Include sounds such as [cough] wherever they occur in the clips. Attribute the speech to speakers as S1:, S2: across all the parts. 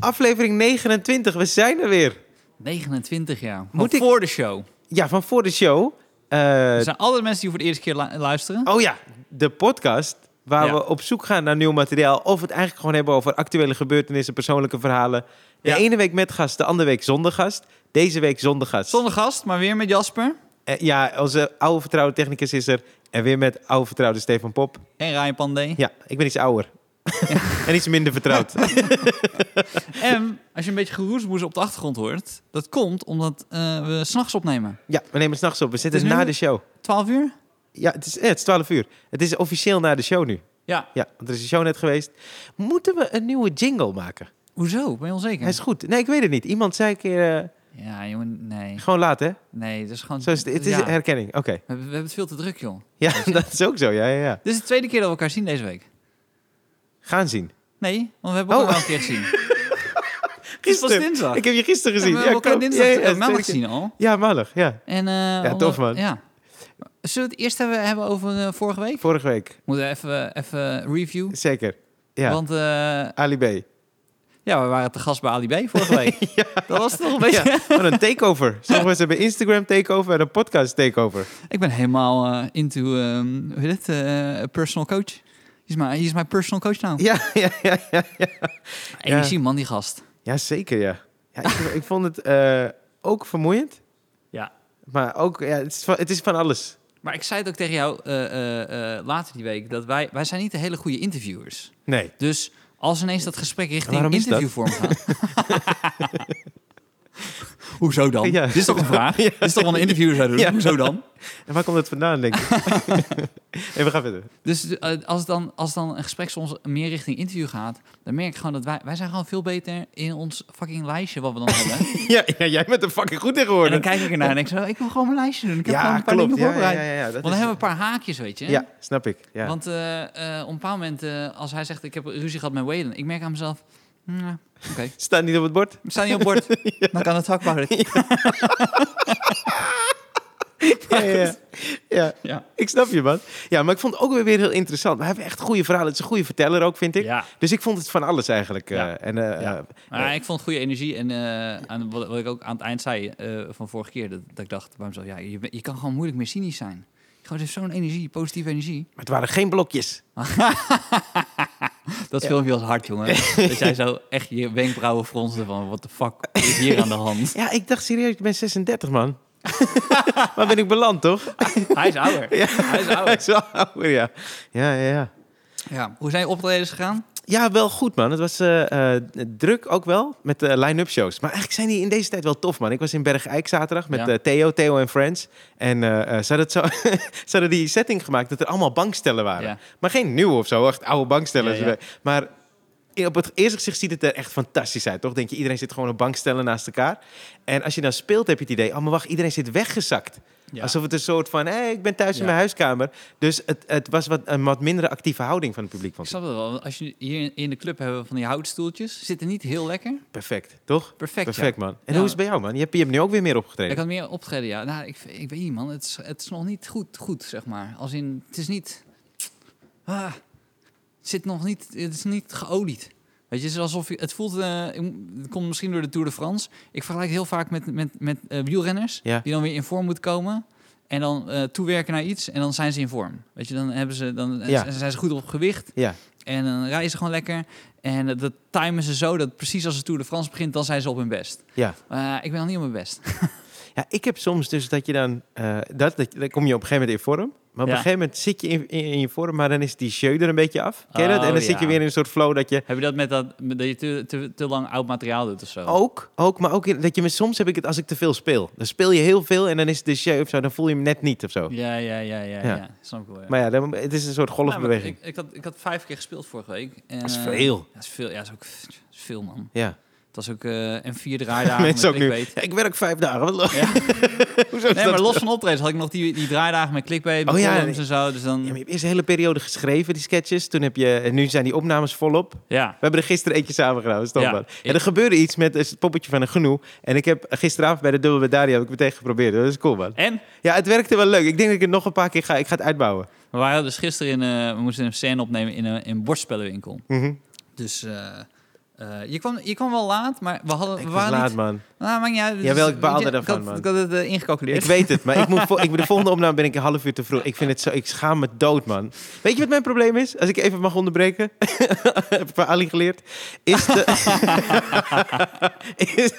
S1: Aflevering 29, we zijn er weer.
S2: 29 jaar.
S1: Moet
S2: Moet
S1: ik- Eh,
S2: voor de show.
S1: Ja, van voor de show. eh,
S2: Er zijn altijd mensen die voor de eerste keer lu- luisteren.
S1: oh ja, de podcast waar
S2: Ja.
S1: we op zoek gaan naar nieuw materiaal. Of we het eigenlijk gewoon hebben over actuele gebeurtenissen, persoonlijke verhalen. De
S2: Ja.
S1: ene week met gast, de andere week zonder gast. Deze week zonder gast.
S2: Zonder gast, maar weer met Jasper
S1: Eh, ja, onze oude vertrouwde technicus is er. En weer met oude vertrouwde Stefan Pop.
S2: en
S1: [laughs]
S2: Ryan Pandey.
S1: Ja, ik ben iets ouder. [laughs] en iets minder
S2: [laughs]
S1: vertrouwd.
S2: En als je een beetje geroesmoes op de achtergrond hoort, dat komt omdat eh, we s'nachts opnemen.
S1: ja, we nemen s'nachts op. We zitten
S2: Het is
S1: na
S2: Dus nu-
S1: de show.
S2: 12 uur?
S1: Ja, het is, eh, het is 12 uur. Het is officieel na de show nu.
S2: Ja.
S1: Ja, want er is een show net geweest. Moeten we een nieuwe jingle maken?
S2: Hoezo? Ben je onzeker?
S1: Hij is goed. Nee, ik weet het niet. Iemand zei een keer... eh,
S2: Ja, jongen, nee.
S1: gewoon laat, hè?
S2: Nee, dat is gewoon...
S1: Zo is het, het is
S2: ja. we,
S1: herkenning. Oké.
S2: hebben, we hebben het veel te druk, joh.
S1: [laughs] Ja, dat is ook zo. Ja, ja, ja.
S2: Dit is de tweede keer dat we elkaar zien deze week.
S1: Gaan zien.
S2: Nee, want we hebben elkaar
S1: Oh.
S2: al een keer
S1: [laughs]
S2: gezien. Het is pas dinsdag.
S1: Ik heb je gisteren gezien.
S2: Ja, we hebben elkaar
S1: klopt.
S2: dinsdag,
S1: Ja, ja,
S2: eh,
S1: ja,
S2: maandag
S1: zeker.
S2: gezien al.
S1: Ja, maandag. Ja,
S2: En, eh, omdat-
S1: tof, man.
S2: Ja. Zullen we het eerst hebben, hebben over eh, vorige week?
S1: vorige week.
S2: Moeten we even, even review.
S1: Zeker. Ja,
S2: Want eh,
S1: Ali B.
S2: ja, we waren te gast bij Ali B vorige
S1: [laughs]
S2: week. Dat was toch een beetje... [laughs]
S1: Ja, wat een takeover. Sommige mensen hebben Instagram takeover en een podcast takeover.
S2: Ik ben helemaal eh, into, ehm, hoe heet het, eh, personal coach. Hier is mijn- hier is mijn personal coach nou.
S1: Ja, ja, ja. Ja, ja.
S2: Energie man, die gast.
S1: ja zeker, ja. ja ik, ik vond het eh, ook vermoeiend.
S2: Ja.
S1: Maar ook, ja, het is van, het is van alles.
S2: Maar ik zei het ook tegen jou eh, eh, eh, later die week, dat wij, wij zijn niet de hele goede interviewers.
S1: Nee.
S2: Dus als ineens dat gesprek richting
S1: Waarom is dat?
S2: interviewvorm gaat...
S1: [laughs]
S2: Hoezo dan?
S1: Ja.
S2: Dit is toch een vraag? Dit is toch wel een interview zou doen?
S1: Ja.
S2: Hoezo dan?
S1: En waar komt dat vandaan, denk
S2: [laughs]
S1: ik? Even gaan verder.
S2: Dus eh, als, dan, als dan een gesprek soms meer richting interview gaat, dan merk ik gewoon dat wij, wij zijn gewoon veel beter in ons fucking lijstje wat we dan
S1: [laughs]
S2: hebben.
S1: Ja, ja, jij bent er fucking goed in
S2: en
S1: geworden.
S2: dan kijk ik ernaar en denk ik zo, ik wil gewoon mijn lijstje doen. Ik heb gewoon
S1: ja,
S2: een paar
S1: klopt.
S2: dingen
S1: Ja, ja,
S2: voorbereid.
S1: ja, ja, dat
S2: Want dan
S1: is-
S2: hebben we een paar haakjes, weet je.
S1: ja, snap ik. Ja.
S2: Want eh, eh, op een bepaald moment, eh, als hij zegt, ik heb ruzie gehad met Waylon, ik merk aan mezelf, "Hm, ja, oké,
S1: Staat niet op het
S2: [laughs]
S1: bord?
S2: we staan niet op bord,
S1: [laughs]
S2: dan kan het hakbaar.
S1: Ja, ja, ja. Ja,
S2: Ja.
S1: ik snap je, man. Ja, maar ik vond het ook weer weer heel interessant. We hebben echt goede verhalen. Het is een goede verteller ook, vind ik.
S2: Ja.
S1: Dus ik vond het van alles eigenlijk. eh,
S2: Ja.
S1: en, eh,
S2: Ja.
S1: eh,
S2: Maar ik vond goede energie. En eh, aan, wat, wat ik ook aan het eind zei eh, van vorige keer, dat, dat ik dacht bij mezelf, ja, je, bent- je kan gewoon moeilijk meer cynisch zijn. Gewoon, er is zo'n energie, positieve energie.
S1: maar het waren geen blokjes.
S2: Dat filmpje was hard, [laughs] jongen. dat jij zo echt je wenkbrauwen fronsen van, what the fuck is hier aan de hand?
S1: Ja, ik dacht serieus, ik ben 36, man. [laughs] Waar ben ik beland, toch?
S2: [laughs] Hij is ouder. Hij is
S1: Hij [laughs]
S2: ouder.
S1: is wel ouder, ja. Ja, ja, ja.
S2: Ja. Hoe zijn je optredens gegaan?
S1: Ja, wel goed, man. Het was eh, eh, druk ook wel met de line-up shows. Maar eigenlijk zijn die in deze tijd wel tof, man. Ik was in Bergijk zaterdag met
S2: Ja.
S1: eh, Theo, Theo en Friends. En eh, eh, ze, hadden het zo, [laughs] ze hadden die setting gemaakt dat er allemaal bankstellen waren.
S2: Ja.
S1: Maar geen nieuwe of zo, echt oude bankstellen.
S2: Ja, ja.
S1: Maar in- op het eerste gezicht ziet het er echt fantastisch uit, toch? Denk je, iedereen zit gewoon op bankstellen naast elkaar. En als je dan speelt, heb je het idee... oh, maar wacht, iedereen zit weggezakt.
S2: Ja.
S1: Alsof het een soort van, hé, ik ben thuis in
S2: Ja.
S1: mijn huiskamer. Dus het, het was wat, een wat mindere actieve houding van het publiek.
S2: Ik
S1: Vond ik.
S2: snap het wel. want Als je hier in de club hebben we van die houtstoeltjes, zitten niet heel lekker.
S1: Perfect, toch?
S2: Perfect, ja.
S1: Perfect, man. En
S2: Ja.
S1: hoe is het bij jou, man? Je hebt, je hebt nu ook weer meer opgetreden.
S2: Ik had meer optreden, ja. Nou, ik, ik weet niet, man. Het is, het is nog niet goed, goed, zeg maar. Als in, het is niet... Ah, het zit nog niet... Het is niet geolied. Weet je, het is alsof... Je, het voelt... eh, ik mo- het komt misschien door de Tour de France. Ik vergelijk het heel vaak met, met, met eh, wielrenners...
S1: Ja.
S2: die dan weer in vorm moeten komen... en dan eh, toewerken naar iets en dan zijn ze in vorm. Weet je, dan, hebben ze, dan
S1: Ja.
S2: zijn ze goed op gewicht...
S1: Ja,
S2: En dan rijden ze gewoon lekker. En eh, dat timen ze zo dat precies als de Tour de France begint, dan zijn ze op hun best.
S1: ja.
S2: Eh, ik ben nog niet op mijn best.
S1: ja, ik heb soms dus dat je dan... eh, dat, dat, dan kom je op een gegeven moment in vorm. Maar op
S2: Ja.
S1: een gegeven moment zit je in, in, in je vorm, maar dan is die jeu er een beetje af. Ken je dat?
S2: Oh,
S1: En dan zit je
S2: ja.
S1: weer in een soort flow dat je...
S2: Heb je dat met dat, met dat je te, te, te lang oud materiaal doet of zo?
S1: Ook, ook, maar ook in- dat je me soms heb ik het als ik te veel speel. Dan speel je heel veel en dan is de jeu of zo, dan voel je hem net niet of zo.
S2: Ja, ja, ja, ja,
S1: Ja.
S2: ja. Snap ik wel, ja.
S1: Maar ja, dan, het is een soort
S2: Nou, maar
S1: golfbeweging.
S2: ik, ik, had, ik had vijf keer gespeeld vorige week. En,
S1: Dat is
S2: eh,
S1: veel.
S2: ja, dat is veel. Ja, dat is ook dat is veel, man.
S1: Ja,
S2: Het was ook eh, en
S1: [laughs]
S2: vier draaidagen met
S1: mensen ook nu.
S2: clickbait.
S1: Ja, ik werk vijf dagen. Wat-
S2: Ja.
S1: [laughs]
S2: [laughs]
S1: Hoezo is
S2: Nee, maar
S1: dat?
S2: los van optredens had ik nog die, die draaidagen met clickbait, met
S1: Oh, ja,
S2: columns en zo. Dus
S1: Ja, maar
S2: dan,
S1: je hebt eerst een hele periode geschreven, die sketches. Toen heb je, en nu zijn die opnames volop.
S2: ja.
S1: We hebben er gisteren eentje samen gedaan, standaard.
S2: Ja,
S1: En er gebeurde iets met het poppetje van een genoe. En ik heb gisteravond bij de dubbel met Daria heb ik meteen geprobeerd. Dat is cool, man.
S2: En
S1: Ja, het werkte wel leuk. Ik denk dat ik het nog een paar keer ga. Ik ga het uitbouwen.
S2: we Mhm. waren eh, dus gisteren in, eh, we moesten een scène opnemen in een, in een bordspellenwinkel.
S1: Mhm.
S2: Dus eh, Eh, je, kwam, je kwam wel laat, maar we hadden...
S1: Ik
S2: we
S1: was
S2: waren
S1: laat,
S2: niet,
S1: man.
S2: nou, maakt niet uit. Het
S1: Jawel,
S2: is-
S1: ik baalde
S2: weet je,
S1: daarvan,
S2: ik had,
S1: man.
S2: Ik had het eh, ingecalculeerd.
S1: Ik weet het, maar ik moet vo- ik, de volgende opname ben ik een half uur te vroeg. Ik vind het zo, ik schaam me dood, man. Weet je wat mijn probleem is? Als ik even mag onderbreken, [laughs] heb ik bij Ali geleerd. Is, de, [laughs] is,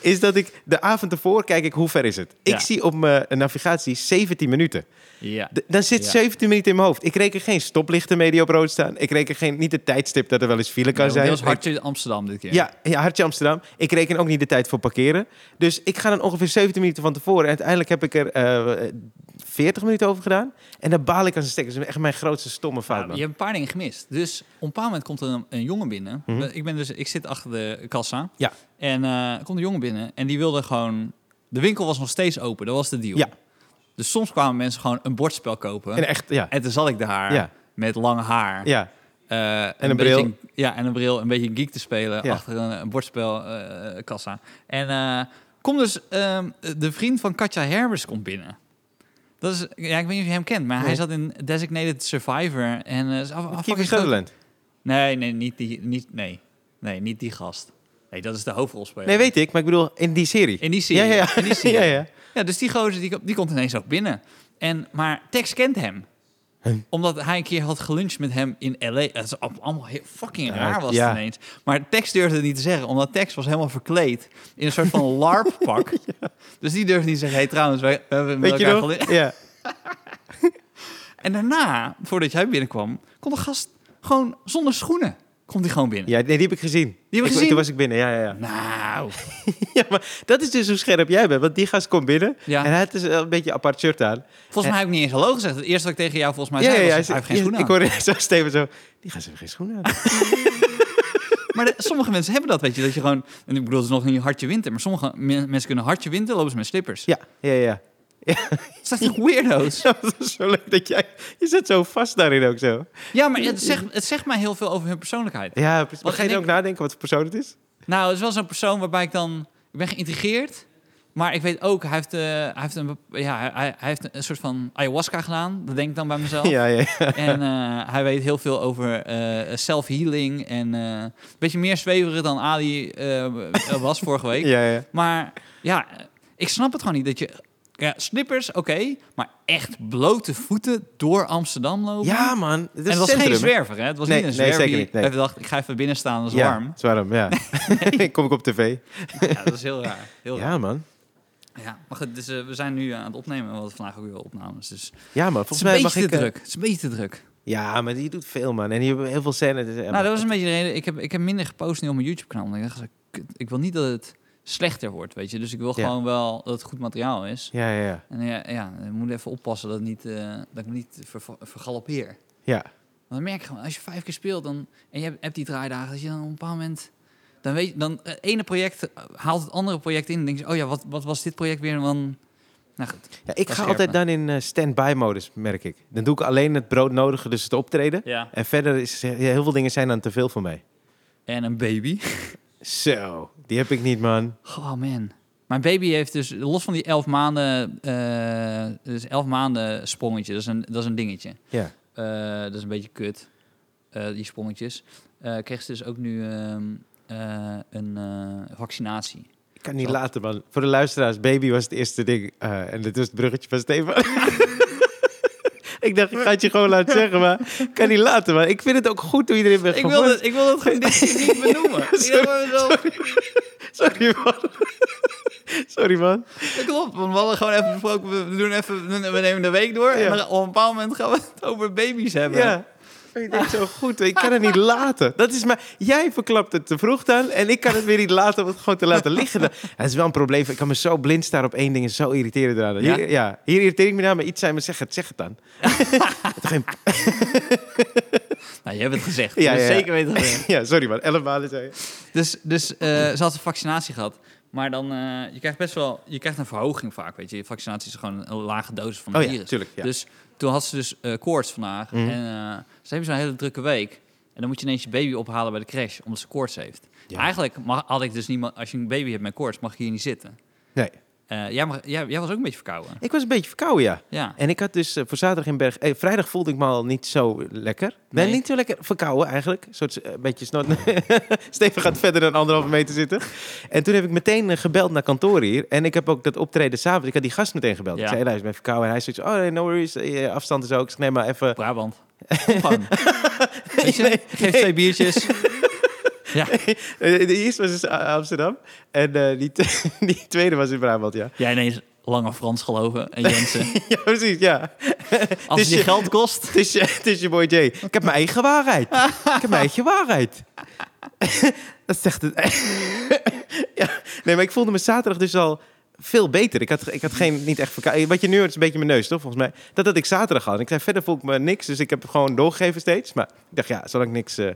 S1: is dat ik de avond ervoor kijk ik hoe ver is het. Ik
S2: Ja.
S1: zie op mijn navigatie 17 minuten.
S2: Ja.
S1: D- dan zit
S2: Ja.
S1: 17 minuten in mijn hoofd. Ik reken geen stoplichten mee die op rood staan. Ik reken geen, niet de tijdstip dat er wel eens file kan
S2: Dat
S1: zijn.
S2: was hartje Amsterdam dit keer.
S1: Ja, ja, Hartje Amsterdam. Ik reken ook niet de tijd voor parkeren. Dus ik ga dan ongeveer 17 minuten van tevoren. En uiteindelijk heb ik er eh, 40 minuten over gedaan. En daar baal ik aan zijn stekken. Dat is echt mijn grootste stomme fout,
S2: Ja,
S1: man.
S2: je hebt een paar dingen gemist. Dus op een bepaald moment komt er een, een jongen binnen.
S1: Mhm.
S2: ik, ben dus, ik zit achter de kassa.
S1: Ja.
S2: En eh, er komt een jongen binnen en die wilde gewoon... De winkel was nog steeds open, dat was de deal.
S1: Ja.
S2: Dus soms kwamen mensen gewoon een bordspel kopen.
S1: En
S2: En,
S1: echt, ja.
S2: toen zat ik daar
S1: Ja.
S2: met lang haar.
S1: Ja,
S2: eh,
S1: een bril.
S2: beetje- ja, en een bril. Een beetje geek te spelen
S1: Ja.
S2: achter een, een bordspelkassa. kassa. en eh kom dus... ehm, de vriend van Katja Herbers komt binnen. Dat is, ja, ik weet niet of je hem kent, maar hij
S1: Nee.
S2: zat in Designated Survivor. En eh, is af- af-
S1: Kiefer
S2: fucking groot-
S1: Sutherland.
S2: Nee, nee, niet die, niet, nee. nee, niet die gast. Nee, dat is de hoofdrolspeler.
S1: Nee, weet ik. Maar ik bedoel, in die serie.
S2: In die serie.
S1: Ja, ja, ja.
S2: In die
S1: [laughs]
S2: serie.
S1: ja, ja.
S2: Ja, dus die gozer die, die komt ineens ook binnen. En, maar Tex kent hem. Omdat hij een keer had geluncht met hem in L.A. Het is al- allemaal heel fucking
S1: Ja,
S2: raar was
S1: ja.
S2: het ineens. Maar Tex durfde het niet te zeggen, omdat Tex was helemaal verkleed in een soort
S1: [laughs]
S2: van LARP-pak. Dus die durfde niet te zeggen, hey, trouwens, wij, we hebben met
S1: Weet je
S2: elkaar
S1: nog?
S2: geluncht.
S1: Ja.
S2: En daarna, voordat jij binnenkwam, kon de gast gewoon zonder schoenen komt hij gewoon binnen.
S1: ja, nee, die heb ik gezien. Die
S2: heb ik gezien?
S1: Toen was ik binnen, ja, ja, ja.
S2: Nou,
S1: [laughs] Ja, maar dat is dus hoe scherp jij bent. Want die gast komt binnen
S2: Ja.
S1: en hij had dus een beetje een apart shirt aan.
S2: Volgens mij heb ik niet eens hallo gezegd. Het eerste wat ik tegen jou volgens mij zei was, hij heeft geen
S1: ja,
S2: schoenen
S1: Ik
S2: aan.
S1: hoorde [laughs] zo Steven zo, die gast heeft geen schoenen aan.
S2: Maar de- sommige mensen hebben dat, weet je. Dat je gewoon, en ik bedoel, het is nog niet hartje winter. Maar sommige men- mensen kunnen hartje winter, lopen ze met slippers.
S1: Ja, ja, ja. [laughs]
S2: Het zijn toch weirdo's?
S1: Ja, dat is zo leuk dat jij... Je zit zo vast daarin ook zo.
S2: Ja, maar het zegt, het zegt mij heel veel over hun persoonlijkheid.
S1: Ja, precies. Maar
S2: Wat
S1: ga je
S2: ik-
S1: dan ook nadenken wat voor persoon het is?
S2: Nou, het is wel zo'n persoon waarbij ik dan... Ik ben geïntrigeerd, maar ik weet ook... Hij heeft, eh, hij heeft, een, bep- ja, hij, hij heeft een soort van ayahuasca gedaan. Dat denk ik dan bij mezelf.
S1: Ja, ja.
S2: En eh, hij weet heel veel over eh, self-healing. En eh, een beetje meer zweverig dan Ali eh, was vorige week.
S1: ja, ja.
S2: Maar ja, ik snap het gewoon niet dat je... Ja, slippers, oké, maar echt blote voeten door Amsterdam lopen.
S1: ja man. Het is
S2: en het was
S1: centrum,
S2: geen
S1: hè?
S2: zwerver, hè? Het was
S1: Nee,
S2: niet een
S1: nee,
S2: zwerver
S1: zeker
S2: die
S1: niet, nee.
S2: even dacht, ik ga even binnen staan, dat is
S1: ja,
S2: warm.
S1: [laughs] Het is warm,
S2: [laughs]
S1: ja. Kom ik op tv.
S2: Ja, dat is heel raar. Heel raar.
S1: Ja, man.
S2: Ja, maar goed, dus, eh, we zijn nu aan het opnemen. We hadden vandaag ook weer opnames, dus...
S1: Ja, man.
S2: Het is
S1: Volgens
S2: een
S1: mij mag
S2: beetje
S1: ik...
S2: te
S1: eh,
S2: druk. Het is een beetje te druk.
S1: Ja, maar je doet veel, man. En je hebt heel veel scènes. dus, ja,
S2: nou,
S1: man.
S2: dat was een beetje de reden. Ik heb, ik heb minder gepost nu op mijn YouTube-kanaal. omdat Ik dacht, kut, ik wil niet dat het slechter wordt, weet je. Dus ik wil
S1: Ja.
S2: gewoon wel dat het goed materiaal is.
S1: Ja, ja, ja.
S2: En ja, ja, ik moet even oppassen dat, niet, eh, dat ik me niet ver, vergalopeer. Want
S1: Ja,
S2: dan merk je gewoon, als je vijf keer speelt dan, en je hebt, hebt die draaidagen, dat je dan op een bepaald moment... Dan weet je, dan het ene project eh, haalt het andere project in. Dan denk je, oh ja, wat, wat was dit project weer? Want, nou goed.
S1: ja ik
S2: Wat
S1: ga
S2: scherp,
S1: altijd dan in eh, stand-by-modus, merk ik. Dan doe ik alleen het broodnodige, dus het optreden.
S2: Ja.
S1: En verder is eh, heel veel dingen zijn dan te veel voor mij.
S2: En een baby.
S1: Zo, die heb ik niet, man.
S2: Oh man. Mijn baby heeft dus, los van die elf maanden, eh, dus elf maanden sprongetje, dat is een, dat is een dingetje.
S1: Ja.
S2: Eh, dat is een beetje kut, eh, die sprongetjes. Eh, kreeg ze dus ook nu ehm, eh, een eh, vaccinaten.
S1: Ik kan niet
S2: Zal-
S1: laten, man. Voor de luisteraars, baby was het eerste ding. eh, en dit was het bruggetje van Stefan. [laughs] ik dacht, ik ga het je gewoon laten zeggen, maar ik kan niet laten, man. Ik vind het ook goed hoe iedereen bent
S2: Ik wil, dat, ik wil dat gewoon dit keer
S1: [laughs]
S2: niet benoemen. Ik dacht
S1: Sorry,
S2: bij mezelf,
S1: Sorry, man. [laughs] Sorry, man.
S2: Dat klopt, want we hadden gewoon even besproken, we- we, doen even, we nemen de week door.
S1: Ja.
S2: En dan, op een bepaald moment gaan we het over baby's hebben.
S1: Ja. Ik denk zo goed, ik kan het niet laten. Dat is maar, jij verklapt het te vroeg dan en ik kan het weer niet laten om het gewoon te laten liggen. dan. [laughs] Het is wel een probleem, ik kan me zo blind staren op één ding en zo irriteren eraan. Hier,
S2: Ja?
S1: ja? hier irriteer ik me naar, maar iets zijn, maar zeg het, zeg het [laughs] dan.
S2: Nou, je hebt het gezegd.
S1: Ja,
S2: Ja,
S1: ja, ja.
S2: Zeker weten gezegd.
S1: [laughs] ja, sorry man, elf maanden zei je.
S2: Dus, dus eh, ze had een vaccinatie gehad. Maar dan, eh, je krijgt best wel, je krijgt een verhoging vaak, weet je. Je Vaccinatie is gewoon een lage dosis van het
S1: Oh ja,
S2: virus.
S1: tuurlijk, ja.
S2: Dus toen had ze dus eh, koorts vandaag.
S1: Mhm.
S2: En eh, ze hebben zo'n hele drukke week. En dan moet je ineens je baby ophalen bij de crash, omdat ze koorts heeft.
S1: Ja.
S2: Eigenlijk mag, had ik dus niet, ma- als je een baby hebt met koorts, mag je hier niet zitten.
S1: Nee.
S2: Eh, Eh, jij, mag- jij, jij was ook een beetje verkouden.
S1: Ik was een beetje verkouden, ja.
S2: Ja.
S1: En ik had dus eh, voor zaterdag in Berg... eh, vrijdag voelde ik me al niet zo lekker. Ben
S2: Nee.
S1: niet zo lekker verkouden eigenlijk. Een soort eh, beetje snor. [laughs] Steven gaat verder dan anderhalve meter zitten. En toen heb ik meteen eh, gebeld naar kantoor hier. En ik heb ook dat optreden s'avonds... Ik had die gast meteen gebeld.
S2: Ja.
S1: Ik zei, helaas, ik ben verkouden. En hij zei, oh, nee, no worries. eh, afstand is ook. Ik zeg, nee, maar even...
S2: Brabant.
S1: [laughs]
S2: Gewoon. Weet je,
S1: Nee,
S2: geef
S1: nee.
S2: twee
S1: [laughs]
S2: biertjes. ja.
S1: Eh, De eerste was dus A- Amsterdam. En eh, die, t- [laughs] die tweede was in Brabant, ja. [laughs]
S2: Jij ineens Lange Frans geloven en Jensen.
S1: Ja, precies, ja.
S2: Als het
S1: Dus
S2: je
S1: je-
S2: geld kost.
S1: Het is, je- het is je boy Jay. Ik heb mijn eigen waarheid. Ik heb mijn eigen waarheid. [laughs] Dat zegt het. [laughs] ja. Nee, maar ik voelde me zaterdag dus al veel beter. Ik had, ik had geen, niet echt verkouden. Wat je nu hoort is een beetje mijn neus, toch? Volgens mij. Dat had ik zaterdag al. En ik zei, verder voel ik me niks. Dus ik heb gewoon doorgegeven steeds. Maar ik dacht, ja, zolang ik niks... eh,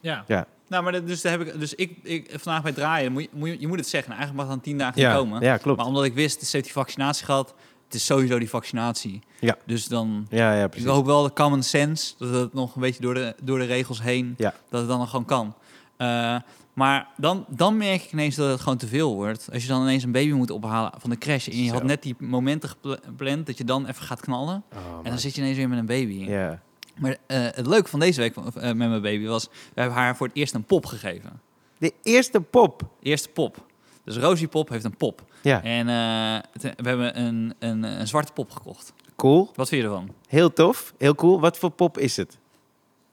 S2: Ja.
S1: Ja.
S2: Nou, maar dat- dus, daar heb ik, dus ik, ik vandaag bij draaien, moet je, moet je, je moet het zeggen. Nou, Eigenlijk mag dan tien dagen niet
S1: ja,
S2: komen.
S1: ja, klopt.
S2: Maar omdat ik wist, ze heeft die vaccinatie gehad. Het is sowieso die vaccinatie.
S1: Ja.
S2: Dus dan,
S1: Ja, ja,
S2: ik
S1: precies.
S2: hoop wel de common sense, dat het nog een beetje door de, door de regels heen,
S1: Ja.
S2: dat het dan nog gewoon kan. Eh, maar dan, dan merk ik ineens dat het gewoon te veel wordt. Als je dan ineens een baby moet ophalen van de crash. En je had
S1: Zo.
S2: net die momenten gepla- gepland dat je dan even gaat knallen.
S1: Oh,
S2: en
S1: man.
S2: dan zit je ineens weer met een baby.
S1: ja.
S2: Maar eh, het leuke van deze week van- eh, met mijn baby was... we hebben haar voor het eerst een pop gegeven.
S1: De eerste pop.
S2: Eerste pop. Dus Rosie Pop heeft een pop.
S1: Ja,
S2: En eh, het- we hebben een, een, een zwarte pop gekocht.
S1: cool.
S2: Wat vind je ervan?
S1: Heel tof. Heel cool. Wat voor pop is het?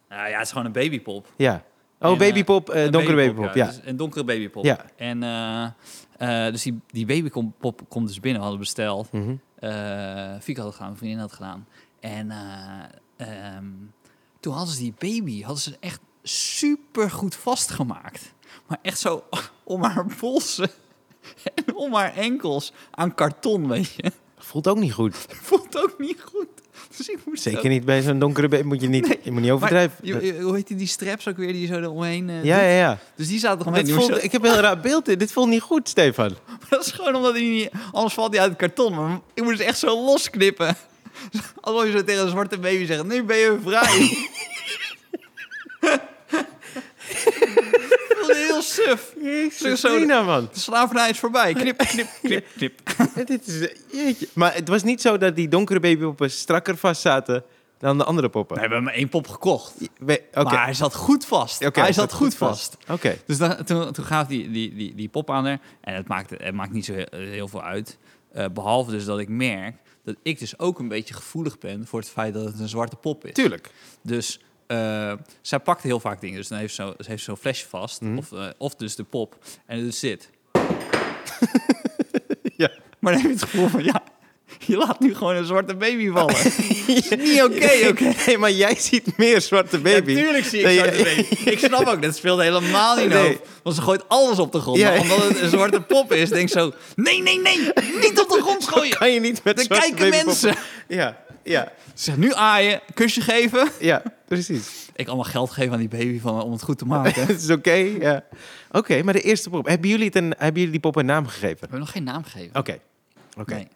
S2: Nou ja, het is gewoon een babypop.
S1: Ja. Oh,
S2: En, eh,
S1: babypop. eh,
S2: Een
S1: donkere babypop. Ja.
S2: Dus een donkere babypop.
S1: Ja.
S2: En eh, eh, dus die, die babypop komt dus binnen. We hadden besteld.
S1: Mhm.
S2: eh Fieke had het gedaan, mijn vriendin had het gedaan. En eh, ehm, toen hadden ze die baby, hadden ze echt super goed vastgemaakt. Maar echt zo [laughs] om haar polsen [laughs] en om haar enkels aan karton, weet je. [laughs]
S1: Voelt ook niet goed.
S2: Dat voelt ook niet goed. Dus ik moest ook-
S1: Zeker niet bij zo'n donkere baby. Moet je niet, je moet niet
S2: Maar
S1: overdrijven.
S2: je- je- hoe heet die, die straps ook weer die je zo eromheen... eh,
S1: ja,
S2: doet?
S1: ja, ja.
S2: Dus die zaten er omheen.
S1: Dit voelt, ik heb een heel raar beeld. in. Dit voelt niet goed, Stefan.
S2: [laughs] Dat is gewoon omdat hij niet... Anders valt hij uit het karton. Maar ik moest het echt zo losknippen. [laughs] Alsof je zo tegen een zwarte baby zegt... Nu ben je
S1: [laughs]
S2: vrij. Dat is heel suf.
S1: Jezus,
S2: Zo- zo-
S1: Nina, man.
S2: De slavernij
S1: [laughs]
S2: is voorbij. Knip, knip, knip, knip.
S1: Dit is, eh, jeetje. Maar het was niet zo dat die donkere babypoppen strakker vast zaten dan de andere
S2: We
S1: poppen.
S2: hebben maar één pop gekocht.
S1: We- Oké,
S2: Maar hij zat goed vast.
S1: Oké,
S2: hij zat goed vast.
S1: Oké.
S2: Dus dan, toen, toen gaf die, die, die, die pop aan haar. En het maakt, het maakt niet zo heel, heel veel uit. Eh, behalve dus dat ik merk dat ik dus ook een beetje gevoelig ben voor het feit dat het een zwarte pop is.
S1: Tuurlijk.
S2: Dus eh, zij pakt heel vaak dingen. Dus dan heeft ze zo- ze heeft zo'n flesje vast.
S1: Mhm.
S2: Of, eh, of dus de pop. En dus dit.
S1: Ja.
S2: Maar dan heb je het gevoel van, ja, je laat nu gewoon een zwarte baby
S1: [laughs]
S2: vallen. Dat is niet oké,
S1: Nee,
S2: oké.
S1: Nee, maar jij ziet meer zwarte baby.
S2: Natuurlijk zie ik
S1: Nee,
S2: zwarte
S1: ja.
S2: baby. Ik snap ook, dat speelde helemaal niet
S1: Nee.
S2: over. Want ze gooit alles op de grond.
S1: Ja.
S2: Maar Omdat het een zwarte pop is, denk ik zo... Nee, nee, nee, niet op de grond
S1: [laughs]
S2: gooien.
S1: kan je niet met
S2: Dan
S1: zwarte
S2: kijken
S1: babypoppen-
S2: mensen.
S1: Ja, ja,
S2: Zeg, nu aaien, kusje geven.
S1: ja, precies.
S2: Ik allemaal geld geven aan die baby van, om het goed te maken. We
S1: [laughs] Het is oké, ja. Oké, maar de eerste pop. Hebben jullie, het een, hebben jullie die pop een naam gegeven?
S2: hebben nog geen naam gegeven.
S1: Oké. Oh, Oké.
S2: Nee.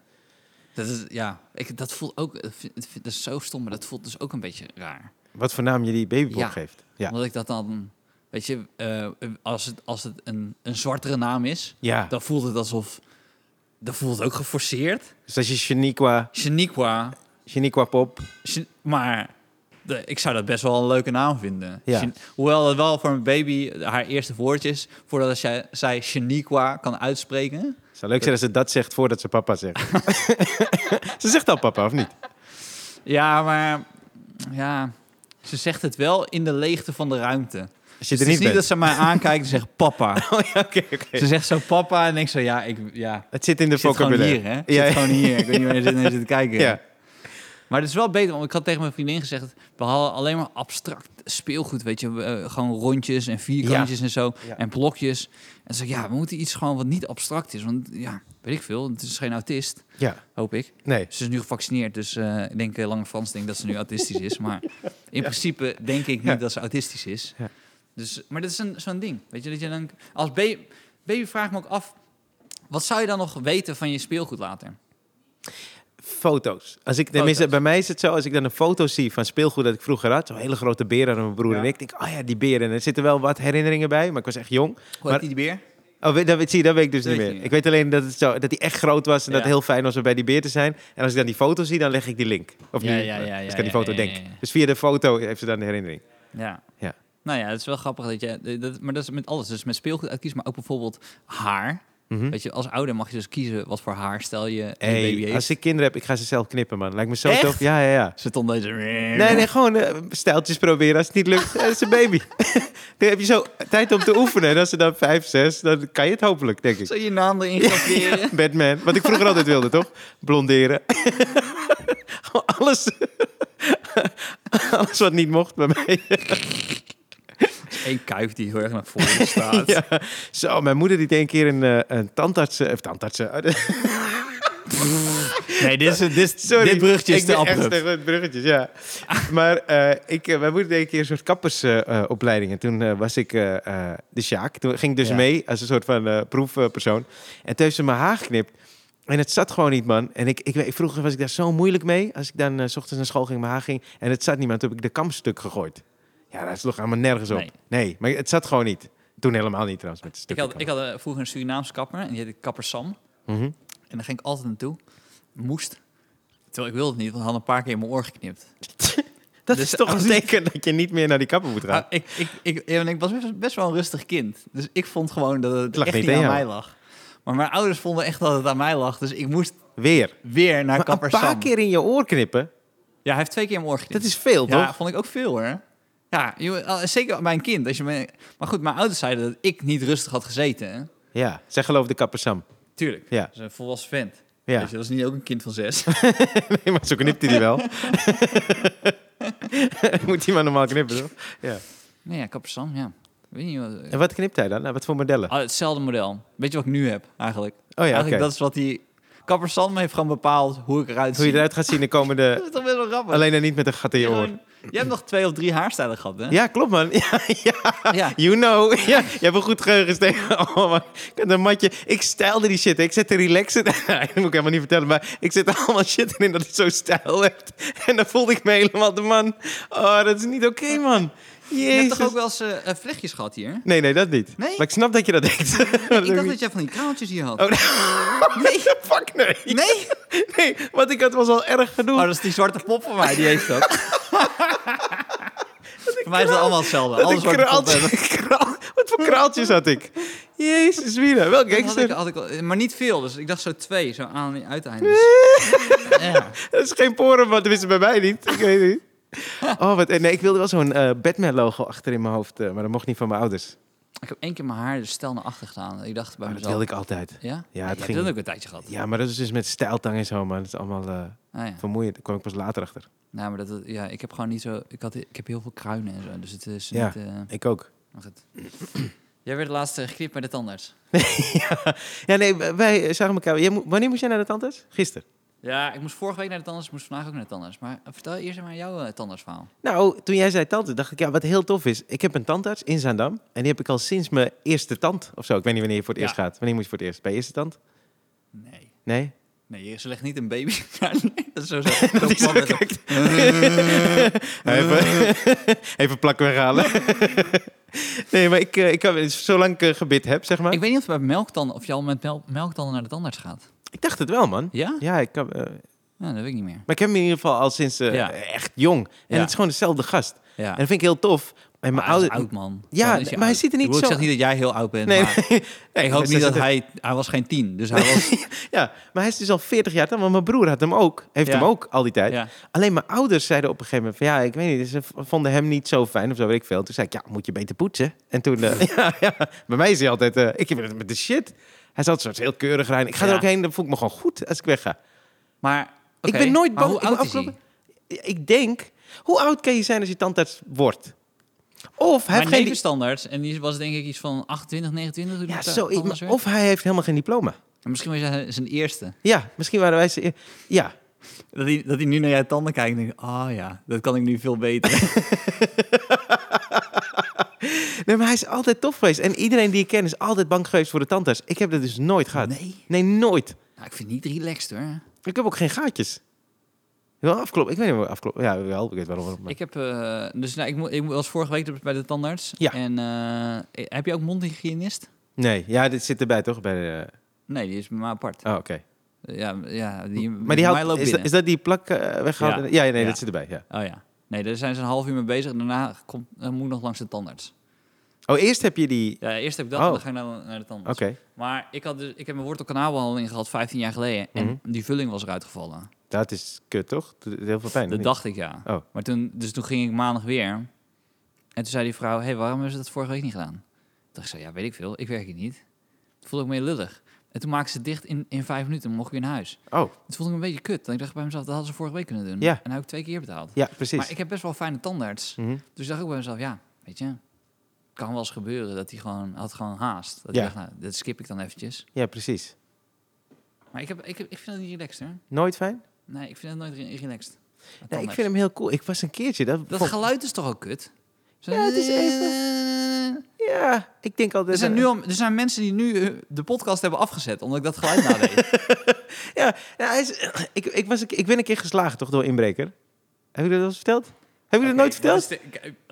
S2: Dat is, ja, ik, dat voelt ook, dat vind- dat is zo stom, maar dat voelt dus ook een beetje raar.
S1: Wat voor naam je die babypop
S2: Ja.
S1: geeft. Ja.
S2: Omdat ik dat dan, weet je, eh, als het, als het een, een zwartere naam is,
S1: Ja.
S2: dan voelt het alsof, dan voelt het ook geforceerd.
S1: Dus als je Shaniqua,
S2: Shaniqua,
S1: Shaniqua Pop.
S2: Shan- maar de, ik zou dat best wel een leuke naam vinden.
S1: Ja.
S2: Shan- hoewel het wel voor een baby haar eerste woordje is, voordat zij, zij Shaniqua kan uitspreken.
S1: Zou leuk zijn als ze dat zegt voordat ze papa
S2: [laughs]
S1: zegt. ze zegt al papa, of niet?
S2: Ja, maar ja, ze zegt het wel in de leegte van de ruimte.
S1: Als je
S2: Dus
S1: er
S2: het
S1: niet
S2: is niet
S1: bent.
S2: dat ze mij aankijkt en zegt [laughs] papa.
S1: Oh, ja, oké, oké.
S2: Ze zegt zo papa en ik zo ja, ik, ja.
S1: Het zit in de
S2: Ik zit gewoon
S1: vocabulaire.
S2: hier, hè? Ik
S1: Ja,
S2: zit
S1: ja.
S2: gewoon hier. Ik weet niet waar je zit, naar zit te kijken.
S1: Ja.
S2: Maar het is wel beter, want ik had tegen mijn vriendin gezegd... we halen alleen maar abstract speelgoed, weet je. eh, gewoon rondjes en vierkantjes en zo.
S1: Ja.
S2: En blokjes. En ze zei, ja, we moeten iets gewoon wat niet abstract is. Want ja, weet ik veel, het is geen autist,
S1: ja,
S2: hoop ik.
S1: nee.
S2: Ze is nu gevaccineerd, dus eh, ik denk eh, Lange Frans denkt dat
S1: [laughs]
S2: ze nu autistisch is. Maar in principe denk ik niet
S1: Ja.
S2: dat ze autistisch is.
S1: Ja.
S2: Dus, maar dat is een- zo'n ding. Weet je, dat je dan als baby, baby vraagt me ook af, wat zou je dan nog weten van je speelgoed later?
S1: Foto's. Als ik, tenminste, bij mij is het zo, als ik dan een foto zie van speelgoed dat ik vroeger had, zo'n hele grote beer aan mijn broer
S2: Ja.
S1: en ik, denk, oh ja, die beren. En er zitten wel wat herinneringen bij, maar ik was echt jong.
S2: Hoe
S1: Maar-
S2: heet die beer?
S1: Oh, weet- dat, weet- zie je, dat weet ik dus
S2: Dat
S1: niet
S2: weet
S1: meer.
S2: je niet
S1: Ik weet alleen dat, het zo, dat hij echt groot was en dat
S2: Ja.
S1: het heel fijn was om bij die beer te zijn. En als ik dan die foto zie, dan leg ik die link. Of
S2: Ja,
S1: nu,
S2: ja, ja,
S1: eh,
S2: ja,
S1: als ik
S2: ja,
S1: aan die foto
S2: ja, ja,
S1: denk.
S2: ja, ja.
S1: Dus via de foto heeft ze dan de herinnering.
S2: Ja.
S1: Ja.
S2: Nou ja, het is wel grappig dat je... Dat, maar dat is met alles. Dus met speelgoed uitkiezen, maar ook bijvoorbeeld haar.
S1: Mhm.
S2: Weet je, als ouder mag je dus kiezen wat voor haarstijl je, je baby
S1: Hey,
S2: heeft.
S1: als ik kinderen heb, ik ga ze zelf knippen, man. Lijkt me zo
S2: Echt?
S1: tof. Ja, ja, ja.
S2: Zit dan deze...
S1: Nee, nee, gewoon eh, stijltjes proberen. Als het niet lukt, eh, is een baby. [laughs] dan heb je zo tijd om te oefenen. En als ze dan vijf, zes, dan kan je het hopelijk, denk ik.
S2: Zou je naam erin graveren?
S1: Batman. Wat ik vroeger altijd wilde, toch? Blonderen. [laughs] Gewoon alles. [laughs] alles wat niet mocht bij mij.
S2: Eén kuif die heel erg naar
S1: [laughs]
S2: voren staat.
S1: Ja. Zo, mijn moeder die deed een keer een, eh, een tandarts... Of tandartsen. [laughs]
S2: Nee, dit, is, dit,
S1: Sorry,
S2: dit bruggetje is
S1: ik
S2: te
S1: ben echt
S2: abrupt.
S1: slecht met bruggetjes, ja.
S2: [laughs]
S1: maar eh, ik, eh, mijn moeder deed een keer een soort kappersopleiding. en toen eh, was ik eh, eh, de Sjaak. Toen ging ik dus
S2: Ja.
S1: mee als een soort van eh, proefpersoon. En toen heeft ze mijn haar geknipt. En het zat gewoon niet, man. En ik, ik, weet- vroeger was ik daar zo moeilijk mee. Als ik dan eh, s ochtends naar school ging, mijn haar ging. En het zat niet, maar toen heb ik de kam stuk gegooid. Ja, dat sloeg helemaal nergens op. Nee.
S2: Nee.
S1: maar het zat gewoon niet. Toen helemaal niet trouwens, met het
S2: Ik
S1: stukje
S2: had, ik had eh, vroeger een Surinaamse kapper en die heette Kapper Sam.
S1: kam. Mhm.
S2: En daar ging ik altijd naartoe. Moest. Terwijl ik wilde het niet, want hij had een paar keer in mijn oor geknipt.
S1: Dat
S2: Dus
S1: is toch een
S2: als ik-
S1: teken dat je niet meer naar die kapper moet gaan.
S2: Ah, ik, ik, ik, ja, want ik was best, best wel een rustig kind. Dus ik vond gewoon dat het
S1: lag
S2: echt
S1: niet
S2: niet
S1: aan
S2: aan
S1: jou.
S2: mij lag. Maar mijn ouders vonden echt dat het aan mij lag. Dus ik moest
S1: Weer.
S2: weer naar
S1: Maar
S2: Kapper
S1: een paar
S2: Sam.
S1: keer in je oor knippen,
S2: Ja, hij heeft twee keer in mijn oor
S1: dat
S2: geknipt.
S1: is veel,
S2: ja,
S1: toch?
S2: vond ik ook veel hoor. Ja, jongen, al- zeker mijn kind. Als je me... Maar goed, mijn ouders zeiden dat ik niet rustig had gezeten. hè.
S1: Ja, zij geloof de kapper Sam.
S2: Tuurlijk.
S1: Ja.
S2: Dat is een volwassen vent.
S1: Ja.
S2: Weet je, dat is niet ook een kind van zes.
S1: [laughs] Nee, maar zo knipt hij die wel. [laughs] Moet hij maar normaal knippen, toch? Ja.
S2: nee, ja, kapper Sam, ja. Ik weet niet wat...
S1: En wat knipt hij dan? Nou, wat voor modellen?
S2: Ah, hetzelfde model. Weet je wat ik nu heb, eigenlijk?
S1: Oh ja,
S2: eigenlijk,
S1: oké.
S2: dat is wat die... Kapper Sam heeft gewoon bepaald hoe ik eruit
S1: Hoe je
S2: zie.
S1: eruit gaat zien de
S2: Dat
S1: [laughs] komende...
S2: is toch best wel grappig?
S1: Alleen dan niet met een gat in je oor.
S2: Gewoon- Jij hebt nog twee of drie haarstijlen gehad, hè?
S1: Ja, klopt, man. Ja,
S2: Ja.
S1: you know. [laughs] Ja, je hebt een goed geheugen, Steven. [laughs] Oh, man. Ik had een matje. Ik stijlde die shit. Ik zette relaxen. [laughs] Nee, dat moet ik helemaal niet vertellen. Maar ik zette allemaal shit in dat het zo stijl hebt. En dan voelde ik me helemaal de man. Oh, dat is niet oké, man.
S2: Je hebt
S1: Jezus.
S2: toch ook wel eens eh, eh, vlechtjes gehad hier?
S1: Nee, nee, dat niet.
S2: Nee?
S1: Maar ik snap dat je dat denkt. [laughs] Dat
S2: ik
S1: ook
S2: dacht
S1: niet.
S2: dat jij van die kraaltjes hier had.
S1: Oh, [laughs] nee. Fuck, nee.
S2: Nee?
S1: Nee, want ik had was al erg genoeg.
S2: Oh, dat is die zwarte pop van mij, die heeft
S1: [laughs]
S2: dat. voor mij is dat allemaal hetzelfde.
S1: dat
S2: Alles
S1: ik
S2: zwarte pop
S1: kraaltje,
S2: hebben.
S1: [laughs] kraal- wat voor kraaltjes had ik? Jezus, Mina. Wel
S2: Dat had ik,
S1: gangster.
S2: had ik, al- maar niet veel, dus ik dacht zo twee, zo aan en
S1: [laughs]
S2: uiteindes. ja.
S1: Dat is geen poren, maar tenminste bij mij niet. Ik weet niet. [laughs] Oh, wat, nee, ik wilde wel zo'n eh, Batman-logo achter in mijn hoofd, eh, maar dat mocht niet van mijn
S2: Oh,
S1: ouders.
S2: Ik heb één keer mijn haar de stijl naar achter gedaan. Ik dacht
S1: Maar
S2: bij
S1: dat
S2: mezelf.
S1: wilde ik altijd.
S2: Ja?
S1: Ja, het
S2: jij
S1: ging-
S2: hebt dat ook een tijdje gehad.
S1: Ja, maar dat is dus met stijltang en zo, man. Dat is allemaal eh,
S2: Ah, ja.
S1: vermoeiend. Daar kwam ik pas later achter.
S2: Nou, maar dat- dat, ja, ik heb gewoon niet zo... Ik, had, ik heb heel veel kruinen en zo, dus het is
S1: Ja.
S2: niet... eh,
S1: Ik ook.
S2: maar goed. [clears throat] Jij werd laatst eh, geknipt met de tandarts.
S1: Ja, nee, wij zagen elkaar. Jij moet- wanneer moest jij naar de tandarts? Gisteren.
S2: Ja, ik moest vorige week naar de tandarts, ik moest vandaag ook naar de tandarts. Maar eh, vertel eerst maar jouw eh, tandartsverhaal.
S1: Nou, toen jij zei tandarts, dacht ik, ja, wat heel tof is. Ik heb een tandarts in Zaandam. En die heb ik al sinds mijn eerste tand of zo. Ik weet niet wanneer je voor het
S2: Ja.
S1: eerst gaat. Wanneer moest je voor het eerst? Bij je eerste tand?
S2: Nee.
S1: Nee?
S2: Nee, ze legt niet een baby. [laughs] Ja, nee, [laughs] dat is zo. zo. Zo
S1: Die zo
S2: kwam het op.
S1: kijkt. even, [laughs] even plak weghalen. Eh. [laughs] nee, maar ik, eh, ik kan, zolang ik eh, gebit heb, zeg maar.
S2: Ik
S1: Ik,
S2: weet niet of, bij melktanden, of je al met mel- melktanden naar de tandarts gaat.
S1: dacht het wel, man.
S2: Ja?
S1: Ja, ik kan, eh,
S2: Ja, dat weet ik niet meer.
S1: maar ik heb hem in ieder geval al sinds eh,
S2: Ja.
S1: echt jong. En
S2: Ja.
S1: het is gewoon dezelfde gast.
S2: Ja.
S1: En dat vind ik heel tof. En mijn Ah,
S2: Maar hij is
S1: oude,
S2: oud, man.
S1: Ja,
S2: Dan is
S1: maar hij
S2: oud.
S1: ziet er niet
S2: Ik bedoel,
S1: zo-
S2: Ik zeg niet dat jij heel oud
S1: [laughs]
S2: bent,
S1: Nee,
S2: maar
S1: nee,
S2: ik hoop
S1: dus
S2: niet
S1: daar
S2: dat
S1: zit
S2: hij... Hij was geen tien, dus hij
S1: [laughs]
S2: was...
S1: Ja, maar hij is dus al 40 jaar. oud, Maar mijn broer had hem ook. Heeft
S2: Ja.
S1: hem ook al die tijd.
S2: Ja.
S1: Alleen mijn ouders zeiden op een gegeven moment van ja, ik weet niet, ze v- vonden hem niet zo fijn of zo weet ik veel. Toen zei ik ja, moet je beter poetsen. En toen, eh, [laughs] ja, ja, bij mij is hij altijd, eh, ik heb het met de shit. Hij zat soort heel keurig rein. Ik ga er
S2: Ja.
S1: ook heen, dan voel ik me gewoon goed als ik wegga.
S2: Maar...
S1: Ik
S2: oké,
S1: ben nooit
S2: maar
S1: bang.
S2: Hoe
S1: ik ben
S2: oud is hij?
S1: afgelopen- Ik denk, hoe oud kan je zijn als je tandarts wordt? Of hij
S2: Hij
S1: heeft
S2: heeft
S1: geen.
S2: geen standaard en die was denk ik iets van 28, 29. toen
S1: Ja,
S2: ik da-
S1: zo,
S2: tandarts werd.
S1: of hij heeft helemaal geen diploma.
S2: En Misschien was hij zijn eerste.
S1: Ja, misschien waren wij ze. Ja,
S2: Dat hij, dat hij nu naar jouw tanden kijkt en denkt, ah ja, dat kan ik nu veel beter.
S1: Nee, maar hij is altijd tof geweest. En iedereen die ik ken is altijd bang geweest voor de tandarts. Ik heb dat dus nooit gehad.
S2: Nee.
S1: Nee, nooit.
S2: Nou, ik vind het niet relaxed hoor.
S1: Ik heb ook geen gaatjes. Wel afkloppen. Ik weet niet of afkloppen. Ja, wel. Ik weet wel waarom. maar-
S2: Ik heb, eh, dus nou, ik, mo- ik was vorige week bij de tandarts.
S1: Ja.
S2: En eh, heb je ook mondhygiënist?
S1: Nee, ja, dit zit erbij toch? Bij de,
S2: Nee, die is maar apart. Eh,
S1: oh, oké.
S2: Ja, ja die,
S1: Maar die
S2: mij
S1: houdt,
S2: loopt
S1: is, dat,
S2: binnen.
S1: is dat die plak eh, weggehouden? Ja, nee,
S2: Ja.
S1: dat zit erbij, ja.
S2: Oh ja. Nee, daar zijn ze een half uur mee bezig. en Daarna komt, dan moet ik nog langs de tandarts.
S1: Oh, eerst heb je die...
S2: Ja, eerst heb ik dat
S1: Oh.
S2: en dan ga ik naar, naar de tandarts.
S1: Oké.
S2: Maar ik, had dus, ik heb mijn wortelkanaalbehandeling gehad 15 jaar geleden. En
S1: Mhm.
S2: die vulling was eruit gevallen.
S1: Dat is kut, toch? Dat is heel veel pijn. of
S2: Dat
S1: niet?
S2: dacht ik ja.
S1: Oh.
S2: Maar toen, dus toen ging ik maandag weer. En toen zei die vrouw: hey, waarom hebben ze dat vorige week niet gedaan? Toen dacht ik: zo, Ja, weet ik veel. Ik werk hier niet. Toen voelde ik me heel lullig. En toen maakten ze het dicht in, in vijf minuten. en mocht ik weer naar huis.
S1: Oh,
S2: Toen voelde ik me een beetje kut. En ik dacht bij mezelf: Dat hadden ze vorige week kunnen doen.
S1: Ja.
S2: En dan heb ik twee keer betaald.
S1: ja, precies.
S2: Maar ik heb best wel fijne tandarts.
S1: Mhm.
S2: Dus ik dacht ook bij mezelf: Ja, weet je. Het kan wel eens gebeuren dat hij gewoon had gewoon haast. Dat
S1: Ja.
S2: hij dacht, nou, dat skip ik dan eventjes.
S1: Ja, precies.
S2: Maar ik, heb, ik, heb, ik vind het niet relaxed, hoor.
S1: Nooit fijn?
S2: Nee, ik vind het nooit re- relaxed.
S1: Nee, ik
S2: Tandarts.
S1: vind hem heel cool. Ik was een keertje... Dat,
S2: Dat
S1: vond-
S2: geluid is toch ook kut? Zo- eh,
S1: Ja, het is Ja, ik denk altijd...
S2: Er zijn, nu al, er zijn mensen die nu eh, de podcast hebben afgezet, omdat ik dat
S1: [laughs]
S2: geluid nadeed.
S1: Ja, nou, hij is- [clears throat] ik, ik, was, een- ik ben een keer geslagen, toch, door inbreker? Heb ik dat wel eens verteld? Heb ik dat nooit verteld?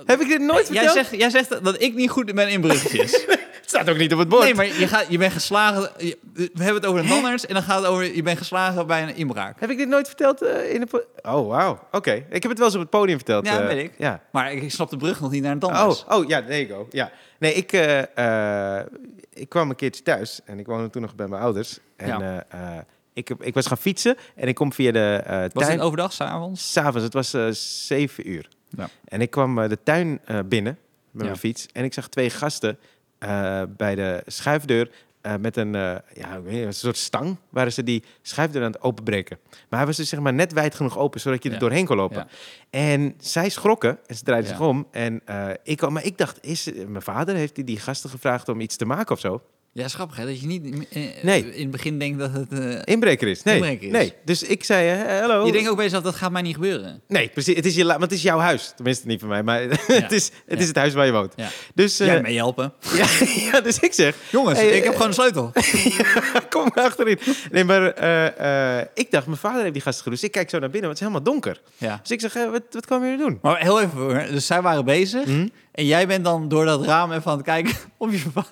S1: Heb ik dit nooit verteld?
S2: Jij zegt, jij zegt dat ik niet goed ben in bruggetjes.
S1: Het staat ook niet op het [laughs] bord.
S2: nee, maar je, gaat, je bent geslagen... je- we hebben het over een anders en dan gaat het over... Je bent geslagen bij een inbraak.
S1: Heb ik dit nooit verteld eh, in de... po- Oh, wauw. Oké. Ik heb het wel eens op het podium verteld.
S2: Ja,
S1: eh,
S2: weet ik.
S1: Ja.
S2: Maar ik, ik snap de brug nog niet naar een
S1: Oh,
S2: tandarts.
S1: oh, ja, there you go. Ja. Nee, ik, eh, eh, ik kwam een keertje thuis en ik woonde toen nog bij mijn ouders. En
S2: Ja.
S1: eh, eh, ik, heb- ik was gaan fietsen en ik kom via de eh
S2: Was
S1: tuin.
S2: het overdag, s'avonds?
S1: S'avonds, het was eh, zeven uur.
S2: Ja.
S1: En ik kwam eh, de tuin eh, binnen met
S2: Ja.
S1: mijn fiets. En ik zag twee gasten eh, bij de schuifdeur eh, met een, eh, ja, ik weet niet, een soort stang... waren ze die schuifdeur aan het openbreken. Maar hij was dus zeg maar net wijd genoeg open... zodat je er
S2: Ja.
S1: doorheen kon lopen.
S2: Ja.
S1: En zij schrokken en ze draaiden
S2: Ja.
S1: zich om. En eh, ik, al- maar ik dacht, is, eh, mijn vader heeft die, die gasten gevraagd om iets te maken of zo.
S2: Ja, is grappig hè, dat je niet eh,
S1: Nee. Oh.
S2: in het begin denkt dat het... eh,
S1: Inbreker is. Nee,
S2: Inbreker is.
S1: nee. Dus ik zei, eh, hallo.
S2: je denkt ook bij jezelf, dat gaat mij niet gebeuren.
S1: Nee, precies. Het is, je, la- want het is jouw huis. Tenminste, niet van mij, maar [laughs] het, is, het is het huis waar je woont.
S2: Ja.
S1: Dus, eh,
S2: Jij mee helpen.
S1: [laughs] ja, ja, dus ik zeg, [laughs]
S2: Jongens,
S1: Hey,
S2: ik heb
S1: eh,
S2: gewoon een
S1: [laughs]
S2: sleutel.
S1: kom maar achterin. Nee, maar eh, eh, ik dacht, mijn vader heeft die gasten geroepen. Dus ik kijk zo naar binnen, want het is helemaal donker.
S2: ja.
S1: Dus ik zeg, eh, wat, wat kwam je doen?
S2: Maar heel even hoor. Dus zij waren bezig.
S1: Mhm.
S2: En jij bent dan door dat raam even aan het kijken [laughs] of je verba-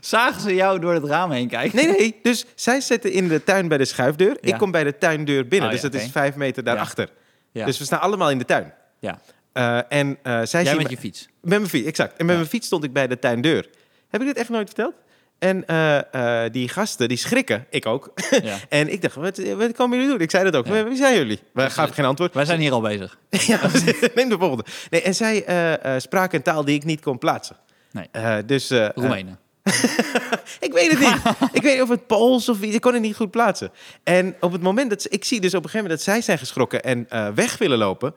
S2: Zagen ze jou door het raam heen kijken?
S1: Nee, nee. Dus zij zitten in de tuin bij de schuifdeur.
S2: Ja.
S1: Ik kom bij de tuindeur binnen.
S2: Oh,
S1: dus
S2: ja,
S1: dat is
S2: oké.
S1: vijf meter daarachter.
S2: Ja.
S1: Dus we staan allemaal in de tuin.
S2: ja.
S1: Eh, en eh, zij
S2: Jij
S1: zien
S2: met
S1: me-
S2: je
S1: [laughs]
S2: fiets.
S1: Met mijn fiets, exact. En met
S2: Ja.
S1: mijn fiets stond ik bij de tuindeur. Heb ik dit echt nooit verteld? En eh, eh, die gasten, die schrikken. Ik ook.
S2: Ja.
S1: En ik dacht, wat, wat komen jullie doen? Ik zei dat ook.
S2: Ja.
S1: Wie zijn jullie? We gaven geen
S2: [laughs]
S1: antwoord.
S2: Wij zijn hier al bezig.
S1: ja, [laughs] neem de volgende. Nee, en zij eh, eh, spraken een taal die ik niet kon plaatsen.
S2: Nee.
S1: Eh, dus, eh, eh,
S2: Roemenen.
S1: ik weet het niet.
S2: [laughs]
S1: ik weet niet of het Pools of iets. Ik kon het niet goed plaatsen. En op het moment dat ze- ik zie dus op een gegeven moment dat zij zijn geschrokken en eh, weg willen lopen.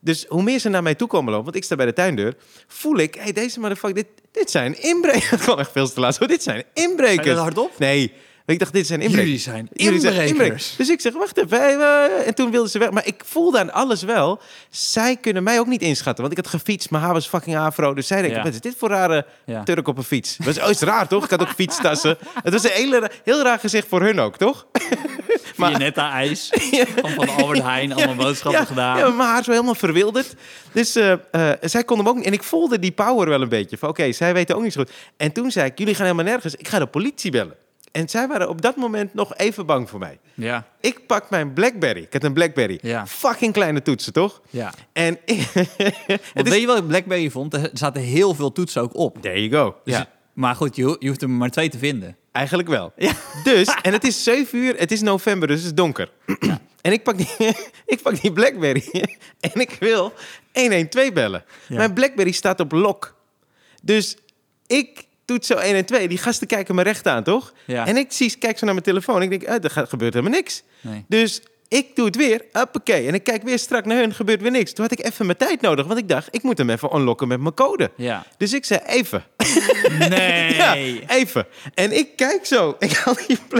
S1: Dus hoe meer ze naar mij toe komen lopen, want ik sta bij de tuindeur, voel ik, hey, deze motherfucker, dit, dit zijn inbrekers. [laughs] Dat kwam echt veel te laat. zo. Dit zijn
S2: Zei je dat
S1: inbrekers.
S2: hardop?
S1: Nee, ik dacht, dit zijn inbrekers.
S2: Jullie zijn
S1: Jullie zijn
S2: inbrekers.
S1: Dus ik zeg, wacht even. hey, eh, en toen wilden ze weg. Maar ik voelde aan alles wel. Zij kunnen mij ook niet inschatten. Want ik had gefietst. Mijn haar was fucking afro. Dus zij denken,
S2: Ja.
S1: wat is dit voor rare
S2: Ja.
S1: Turk op een fiets? Dat is, oh, is raar, toch? Ik had ook fietstassen. Het was een hele, ra- heel raar gezicht voor hun ook, toch? maar-
S2: Vianetta ijs.
S1: [laughs]
S2: Van, van Albert Heijn. Allemaal boodschappen
S1: ja,
S2: gedaan.
S1: ja, maar mijn haar is wel helemaal verwilderd. Dus eh, eh, zij kon hem ook niet. En ik voelde die power wel een beetje. Van oké, zij weten ook niet zo goed. En toen zei ik, jullie gaan helemaal nergens. Ik ga de politie bellen. En zij waren op dat moment nog even bang voor mij.
S2: ja.
S1: Ik pak mijn Blackberry. Ik had een Blackberry.
S2: Ja.
S1: Fucking kleine toetsen, toch?
S2: ja.
S1: En [laughs] ik...
S2: Want weet je wat ik Blackberry vond? Er zaten heel veel toetsen ook op.
S1: There you go.
S2: Dus-
S1: ja,
S2: Maar goed, je, ho- je hoeft er maar twee te vinden.
S1: eigenlijk wel. Dus, en het is 7 uur, het is november, dus het is donker. [clears throat] En ik pak, die, [laughs] ik pak die Blackberry [laughs] en ik wil 112 bellen.
S2: Ja.
S1: Mijn Blackberry staat op lock. Dus ik toets zo 112. Die gasten kijken me recht aan, toch?
S2: Ja.
S1: En ik zie, kijk zo naar mijn telefoon. Ik denk, eh, er gaat- gebeurt helemaal niks.
S2: Nee.
S1: Dus ik doe het weer, hoppakee. En ik kijk weer strak naar hun, gebeurt weer niks. Toen had ik even mijn tijd nodig, want ik dacht, ik moet hem even unlocken met mijn code.
S2: Ja.
S1: Dus ik zei, even. [laughs]
S2: Nee.
S1: Ja, even. En ik kijk zo. [laughs] Ik haal, die bla-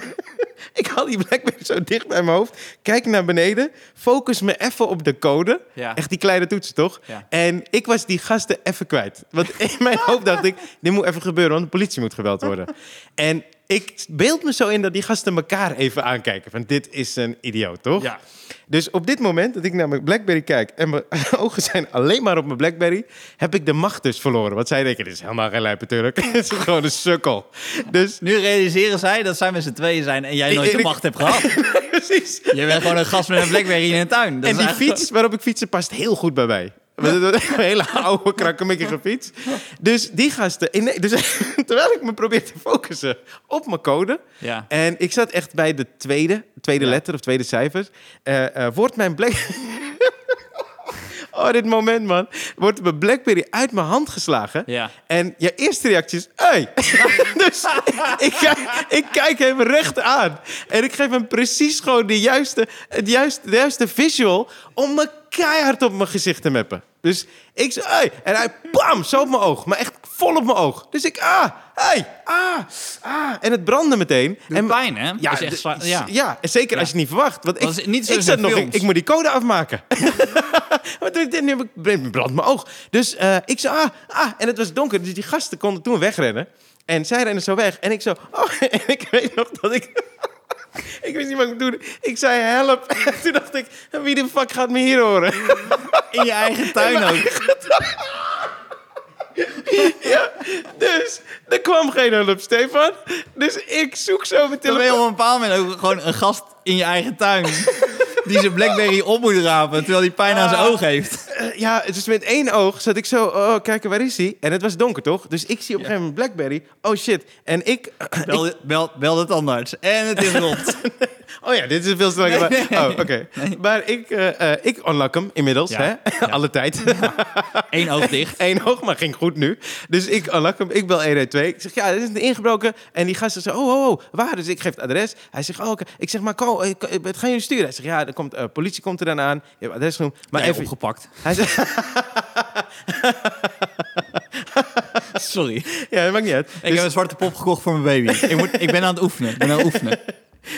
S1: ik haal die Blackberry zo dicht bij mijn hoofd. Kijk naar beneden. Focus me even op de code.
S2: Ja.
S1: Echt die kleine toetsen, toch?
S2: Ja.
S1: En ik was die
S2: [laughs]
S1: gasten even kwijt. Want in mijn hoofd dacht ik... Dit moet even gebeuren, want de politie moet geweld worden. En ik beeld me zo in dat die gasten elkaar even aankijken. Van dit is een idioot, toch?
S3: Ja.
S1: Dus op dit moment dat ik naar mijn Blackberry kijk en mijn [laughs] ogen zijn alleen maar op mijn Blackberry, heb ik de macht dus verloren. Want zij denken, dit is helemaal geen lijp natuurlijk. [laughs] Het is gewoon een sukkel. Dus [laughs]
S2: Nu realiseren zij dat zij met z'n tweeën zijn en jij
S1: Ik-
S2: nooit de
S1: ik-
S2: macht hebt gehad.
S1: precies.
S2: Je bent gewoon een gast met een Blackberry in een tuin. Dat
S1: en
S2: is
S1: die
S2: eigenlijk-
S1: fiets waarop ik fietsen past heel goed bij mij. Want dat is Een [laughs] hele oude, krakkemikkige fiets. Dus die gasten... in- nee, dus, [laughs] terwijl ik me probeer te focussen op mijn code...
S2: Ja.
S1: En ik zat echt bij de tweede, tweede
S2: Ja.
S1: letter of tweede cijfers. Eh, eh, wordt mijn Black... [laughs] oh, dit moment, man. Wordt mijn Blackberry uit mijn hand geslagen.
S2: Ja.
S1: En je eerste reactie is... Hey! [laughs] dus ik, kijk, ik kijk hem recht aan. En ik geef hem precies gewoon de juiste, het juiste, de juiste visual... om me keihard op mijn gezicht te mappen. Dus ik zei... Hey! En hij... Bam! Zo op mijn oog. Maar echt vol op mijn oog. Dus ik... Ah! Hey! Ah! Ah! En het brandde meteen.
S2: en
S1: en
S2: pijn, hè? Ja, is echt
S1: d-
S2: zwaar-
S1: s-
S2: ja.
S1: ja. zeker als je het niet verwacht. Want ik,
S2: Dat is niet zoals
S1: ik zat
S2: in
S1: nog,
S2: films.
S1: ik, ik moet die code
S2: [laughs]
S1: afmaken. Maar toen- toen heb ik brand mijn oog. Dus eh, ik zei, ah, ah, en het was donker. Dus die gasten konden toen wegrennen. En zij rennen zo weg. En ik zo, oh, [laughs] en ik weet nog dat ik... [laughs] ik wist niet wat ik moest doen. Ik zei, help. [laughs] En toen dacht ik, wie de fuck gaat me hier horen? [laughs]
S2: in je eigen tuin ook.
S1: dus er kwam geen hulp, Stefan. Dus ik zoek zo mijn
S2: Dan
S1: telefoon.
S2: ben je op een bepaald moment ook gewoon een gast in je eigen tuin. Die zijn Blackberry op moet rapen terwijl hij pijn aan zijn
S1: Ah.
S2: oog heeft.
S1: Eh, ja, dus met één oog zat ik zo, oh, kijken, waar is hij? En het was donker, toch? Dus ik zie op een gegeven moment Blackberry. Oh shit. En ik, eh,
S2: Bel, bel, bel de tandarts. En het is rond.
S1: oh ja, dit is een veel te lange.
S2: Nee, nee,
S1: oh, oké. Maar ik, eh eh, ik unlock hem inmiddels,
S2: Ja,
S1: hè?
S2: ja.
S1: [laughs] Alle tijd.
S2: Eén oog dicht.
S1: Eén oog, maar ging goed nu. Dus ik unlock hem, ik bel 112. Ik zeg, ja, er is een ingebroken. En die gasten zo, oh, oh, oh, waar? Dus ik geef het adres. Hij zegt, oh, oké. Ik zeg, maar call, eh, k- eh, wat gaan jullie sturen? Hij zegt, ja, er komt, eh, politie komt er dan aan. Je hebt adres genoemd. Maar
S2: Nee,
S1: even...
S2: opgepakt.
S1: Hij zegt,
S2: [laughs] Sorry.
S1: ja, dat maakt niet uit. Dus-
S2: Ik heb een zwarte pop gekocht voor mijn baby. Ik, moet, ik ben aan het oefenen. Ik ben aan het oefenen.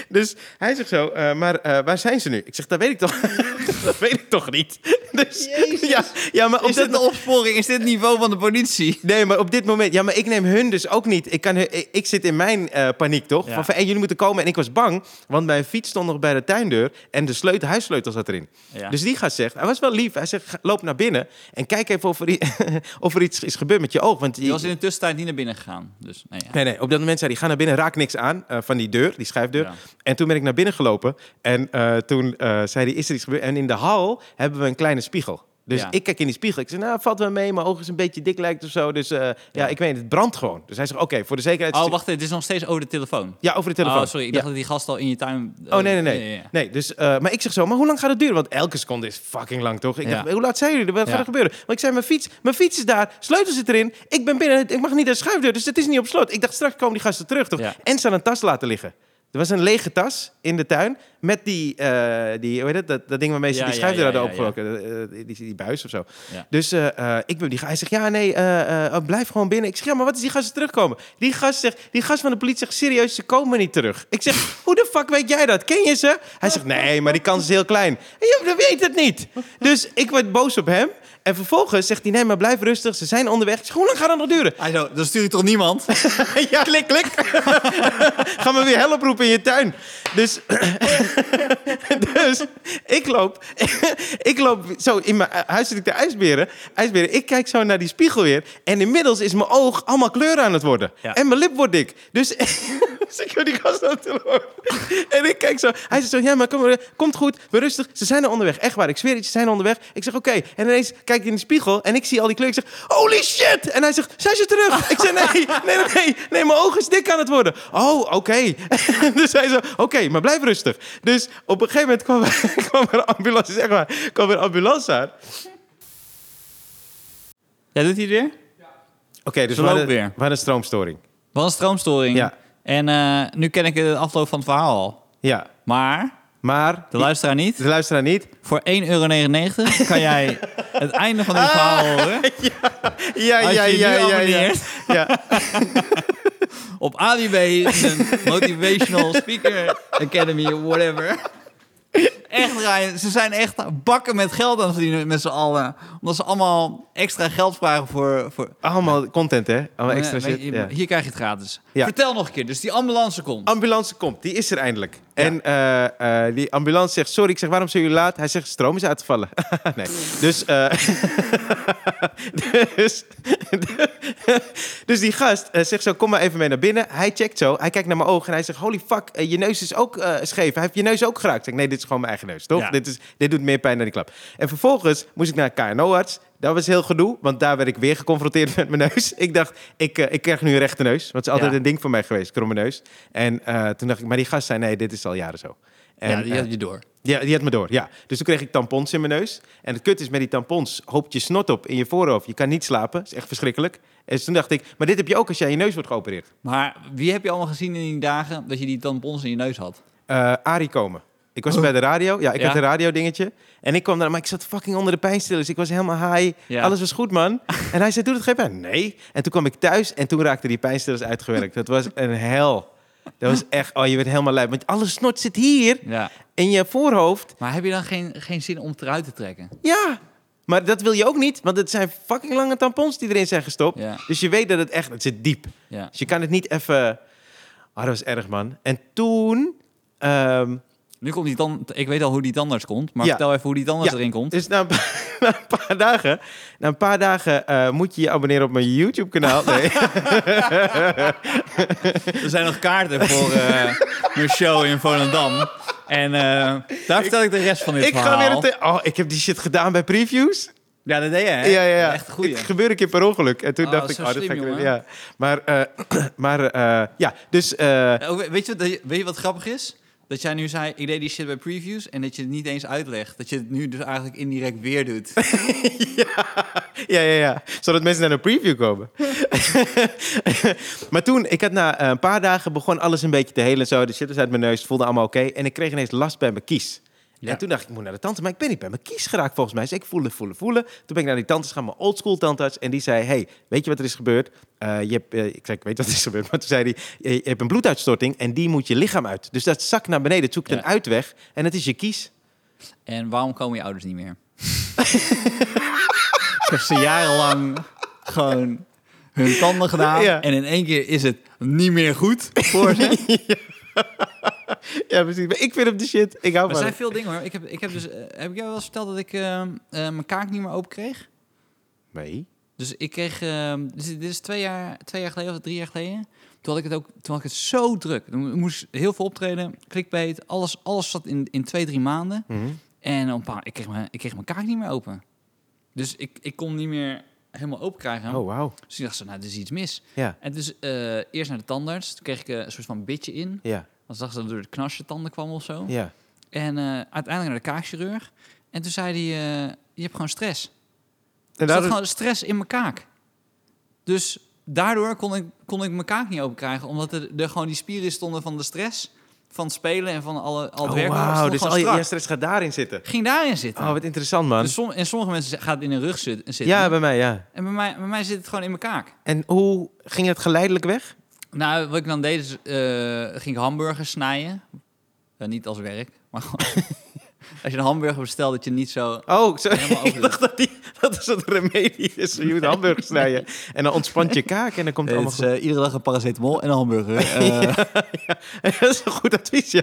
S1: Dus hij zegt zo, eh, maar eh, waar zijn ze nu? Ik zeg, dat weet ik toch, [laughs] dat weet ik toch niet. Dus, ja, ja, maar op
S2: [laughs] Is
S1: dat
S2: dit de opsporing? Is dit het niveau van de politie?
S1: Nee, maar op dit moment... Ja, maar ik neem hun dus ook niet. Ik, kan, hun- ik, ik zit in mijn eh, paniek, toch?
S2: Ja.
S1: Van, van, hey, jullie moeten komen. En ik was bang, want mijn fiets stond nog bij de tuindeur... en de sleutel, huissleutel zat erin.
S2: Ja.
S1: Dus die gaat zegt... Hij was wel lief. Hij zegt, "Ga- loop naar binnen... en kijk even of er, i- [laughs] of er iets is gebeurd met je oog. Want
S2: Die was in de tussentijd niet naar binnen gegaan. Dus nee, ja.
S1: Nee, nee, op dat moment zei hij, ga naar binnen, raak niks aan eh, van die deur, die schuifdeur.
S2: Ja.
S1: En toen ben ik naar binnen gelopen en eh, toen eh, zei hij, is er iets gebeurd? En in de hal hebben we een kleine spiegel. Dus
S2: Ja.
S1: ik kijk in die spiegel. Ik zeg, nou, valt wel mee. Mijn oog is een beetje dik lijkt of zo. Dus eh, ja. ik weet het, het brandt gewoon. Dus hij zegt, oké, voor de zekerheid...
S2: Oh, wacht. Het is nog steeds over de telefoon.
S1: Ja, over de telefoon.
S2: Oh, sorry. Ik
S1: Ja.
S2: dacht dat die gast al in je tuin... eh,
S1: Oh, nee, nee, nee.
S2: ja, ja.
S1: nee dus, eh, maar ik zeg zo, maar hoe lang gaat het duren? Want elke seconde is fucking lang, toch? Ik
S2: Ja.
S1: dacht, hoe laat zijn jullie? er? Wat
S2: Ja.
S1: gaat er gebeuren? Want ik zei, mijn fiets, mijn fiets is daar, sleutel zit erin. Ik ben binnen, ik mag niet uit de schuifdeur, dus het is niet op slot. Ik dacht, straks komen die gasten terug, toch?
S2: Ja.
S1: En ze hadden een tas laten liggen. Er was een lege tas in de tuin met die, eh, die hoe heet het, dat, dat ding waarmee ze
S2: Ja,
S1: die
S2: ja,
S1: schuifdeur
S2: ja,
S1: hadden
S2: ja, ja.
S1: opgelopen. Eh, eh, die, die buis of zo.
S2: Ja.
S1: Dus eh, eh, ik ben die ga- Hij zegt, ja, nee, eh, eh, oh, blijf gewoon binnen. Ik zeg, ja, maar wat is die gasten terugkomen? Die gast, zegt, die gast van de politie zegt, serieus, ze komen niet terug. Ik
S2: [laughs]
S1: zeg, hoe de fuck weet jij dat? Ken je ze? Hij zegt, nee, maar die kans is heel klein. Je weet het niet. Dus ik word boos op hem. En vervolgens zegt hij, nee, maar blijf rustig. Ze zijn onderweg. Ik zeg, hoe lang gaat dat nog duren?
S2: Hij zo, dan stuur je toch
S1: [laughs]
S2: niemand?
S1: ja, klik, klik. [laughs] Ga maar weer help roepen in je tuin. Dus, [laughs] dus ik loop, [laughs] ik loop zo in mijn huis zit ik de ijsberen, ijsberen. Ik kijk zo naar die spiegel weer en inmiddels is mijn oog allemaal kleur aan het worden
S2: Ja.
S1: en mijn lip wordt dik. Dus, [laughs] dus ik hoor die gast aan te en ik kijk zo. Hij zegt zo, ja, maar kom, maar, komt goed, we rustig. Ze zijn er onderweg, echt waar. Ik zweer het, ze zijn onderweg. Ik zeg, oké. En ineens kijk ik in de spiegel en ik zie al die kleur. Ik zeg, holy shit! En hij zegt, zijn ze terug? Ik zeg, nee, nee, nee, nee, nee mijn oog is dik aan het worden. Oh, oké. [laughs] dus hij zo, oké, maar blijf rustig. Dus op een gegeven moment kwam, kwam er [laughs] een ambulance, zeg maar, kwam er een ambulance aan.
S2: Jij doet hier weer?
S1: Oké, dus
S2: Ze
S1: we hadden,
S2: lopen weer.
S1: we hadden een stroomstoring.
S2: Wat een stroomstoring.
S1: Ja.
S2: En eh, nu ken ik de afloop van het verhaal al.
S1: Ja,
S2: Maar,
S1: maar
S2: de luisteraar niet.
S1: de luisteraar niet.
S2: Voor 1,99 euro kan jij
S1: [laughs]
S2: het einde van dit
S1: Ah!
S2: verhaal horen.
S1: Ja,
S2: Als
S1: ja,
S2: je
S1: ja, ja,
S2: nu
S1: ja,
S2: abonneert.
S1: ja.
S2: Op ADB, een motivational speaker academy, whatever. Echt, Ryan, ze zijn echt bakken met geld aan het verdienen met z'n allen. Omdat ze allemaal extra geld vragen voor... voor
S1: Allemaal content, hè? Allemaal extra
S2: Eh, weet
S1: shit.
S2: je,
S1: ja.
S2: Hier krijg je het gratis.
S1: Ja. Oh.
S2: Vertel nog een keer. Dus die ambulance komt.
S1: Ambulance komt, die is er eindelijk. En eh, eh, die ambulance zegt, sorry, ik zeg, waarom zijn jullie laat? Hij zegt, stroom is uitgevallen. [laughs] nee, dus... eh, [laughs] dus, dus die gast eh, zegt zo, kom maar even mee naar binnen. Hij checkt zo, hij kijkt naar mijn ogen en hij zegt, holy fuck, eh, je neus is ook eh, scheef. Hij heeft je neus ook geraakt. Ik zeg, nee, dit is gewoon mijn eigen neus, toch? Dus
S2: Ja.
S1: Dit, is, dit doet meer pijn dan die klap. En vervolgens moest ik naar een KNO-arts. Dat was heel gedoe, want daar werd ik weer geconfronteerd [laughs] met mijn neus. Ik dacht, ik, eh, ik krijg nu een rechte neus. Want het is altijd
S2: Ja.
S1: een ding voor mij geweest, kromme neus. En eh, toen dacht ik, maar die gast zei, nee, dit is al jaren zo. En,
S2: ja, die
S1: eh,
S2: had je door.
S1: ja, die had me door, ja. Dus toen kreeg ik tampons in mijn neus. En het kut is, met die tampons hoopt je snot op in je voorhoofd. Je kan niet slapen, is echt verschrikkelijk. En toen dacht ik, maar dit heb je ook als jij je neus wordt geopereerd.
S2: Maar wie heb je allemaal gezien in die dagen dat je die tampons in je neus had?
S1: Eh Arie komen. Ik was bij de radio, ja, ik
S2: Oh. Ja.
S1: had een radiodingetje. En ik kwam daar, maar ik zat fucking onder de pijnstillers. Ik was helemaal high,
S2: Ja.
S1: alles was goed, man. En hij zei, doet het geen pijn? Nee. En toen kwam ik thuis en toen raakte die pijnstillers uitgewerkt. Dat was een hel. Dat was echt, oh, je werd helemaal lui. Want alle snot zit hier,
S2: Ja.
S1: in je voorhoofd.
S2: Maar heb je dan geen, geen zin om het eruit te trekken?
S1: Ja, maar dat wil je ook niet, want het zijn fucking lange tampons die erin zijn gestopt.
S2: Ja.
S1: Dus je weet dat het echt, het zit diep.
S2: Ja.
S1: Dus je kan het niet even. Ah, dat was erg, man. En toen. ehm,
S2: Nu komt die dan. Ik weet al hoe die tandarts komt, maar
S1: Ja.
S2: vertel even hoe die tandarts
S1: Ja.
S2: erin komt.
S1: [laughs] dus na een, paar, na een paar dagen, na een paar dagen eh, moet je je abonneren op mijn
S2: [laughs]
S1: YouTube-kanaal. Nee.
S2: Er zijn nog kaarten
S1: [laughs]
S2: voor eh, mijn show in Volendam. En eh, daar vertel ik, de rest van dit
S1: [laughs] ik ga
S2: verhaal.
S1: weer. het- Oh, ik heb die shit gedaan bij previews.
S2: Ja, dat deed je, hè?
S1: Ja, ja, ja.
S2: Echt goeie.
S1: Het gebeurde een keer per ongeluk. En toen
S2: Oh,
S1: dacht ik,
S2: zo
S1: oh, dat
S2: slim,
S1: ga ik weer.
S2: jongen.
S1: Ja. Maar, eh, [clears throat] maar eh, ja, dus. eh,
S2: Oh, we- weet, je, wat- weet je wat grappig is? Dat jij nu zei, ik deed die shit bij previews en dat je het niet eens uitlegt. Dat je het nu dus eigenlijk indirect weer doet.
S1: Ja, ja, ja. Zodat mensen naar de preview komen. maar toen, ik had na eh, een paar dagen begon alles een beetje te helen en zo. De shit was uit mijn neus, het voelde allemaal oké. En ik kreeg ineens last bij mijn kies.
S2: Ja.
S1: En toen dacht ik, ik moet naar de tandarts. Maar ik ben niet bij mijn kies geraakt volgens mij. Dus ik voelde, voelen, voelen. Toen ben ik naar die tandarts gaan, mijn oldschool tandarts. En die zei, hey, weet je wat er is gebeurd? Eh, je hebt, eh, ik zei, ik weet wat er is gebeurd. Maar toen zei hij, je, je hebt een bloeduitstorting en die moet je lichaam uit. Dus dat zakt naar beneden, het zoekt
S2: Ja.
S1: een uitweg. En het is je kies.
S2: [laughs] En waarom komen je ouders niet meer? [laughs] ik heb ze jarenlang gewoon hun tanden gedaan.
S1: Ja.
S2: En in één keer is het niet meer goed voor [laughs] ze.
S1: [laughs] Ja, precies. Maar ik vind hem de shit. Ik hou
S2: Maar
S1: van
S2: er
S1: hem.
S2: zijn veel dingen hoor. Ik heb, ik heb, dus, eh, heb ik jou wel eens verteld dat ik eh, eh, mijn kaak niet meer open kreeg?
S1: Nee.
S2: Dus ik kreeg, eh, dus dit is twee jaar, twee jaar geleden of drie jaar geleden. Toen had ik het ook, toen had ik het zo druk. Toen moest heel veel optreden, clickbait, alles, alles zat in, in twee, drie maanden.
S1: Mhm.
S2: En op een paar, ik, kreeg mijn, ik kreeg mijn kaak niet meer open. Dus ik, ik kon niet meer helemaal open krijgen.
S1: Oh, wauw.
S2: Dus ik dacht ze, nou, er is iets mis.
S1: Ja.
S2: En dus eh, eerst naar de tandarts. Toen kreeg ik eh, een soort van bitje in.
S1: Ja,
S2: Dan zag ze dat het door de knasje tanden kwam of zo.
S1: ja.
S2: En eh, uiteindelijk naar de kaakchirurg. En toen zei hij, eh, je hebt gewoon stress.
S1: En
S2: Er zat
S1: daardoor-
S2: gewoon stress in mijn kaak. Dus daardoor kon ik, kon ik mijn kaak niet open krijgen. Omdat er, er gewoon die spieren stonden van de stress. Van het spelen en van alle, al het
S1: Oh,
S2: werk.
S1: wauw,
S2: Stond
S1: dus
S2: gewoon
S1: al je,
S2: strak.
S1: je stress gaat daarin zitten.
S2: Ging daarin zitten.
S1: Oh, wat interessant, man.
S2: Dus som- en sommige mensen gaat het in hun rug zit- zitten.
S1: Ja, bij mij, ja.
S2: En bij mij, bij mij zit het gewoon in mijn kaak.
S1: En hoe ging het geleidelijk weg?
S2: Nou, wat ik dan deed, is, eh, ging ik hamburgers snijden. Eh, niet als werk,
S1: [laughs]
S2: maar gewoon... als je een hamburger bestelt, dat je niet zo...
S1: Oh, zo, [laughs]
S2: Helemaal
S1: ik dacht dat die, dat is het remedie is. Je moet hamburger snijden. En dan ontspant je kaak en dan komt het allemaal goed.
S2: eh, iedere dag een paracetamol en een
S1: [laughs]
S2: hamburger. eh.
S1: dat is een goed [laughs] advies, ja.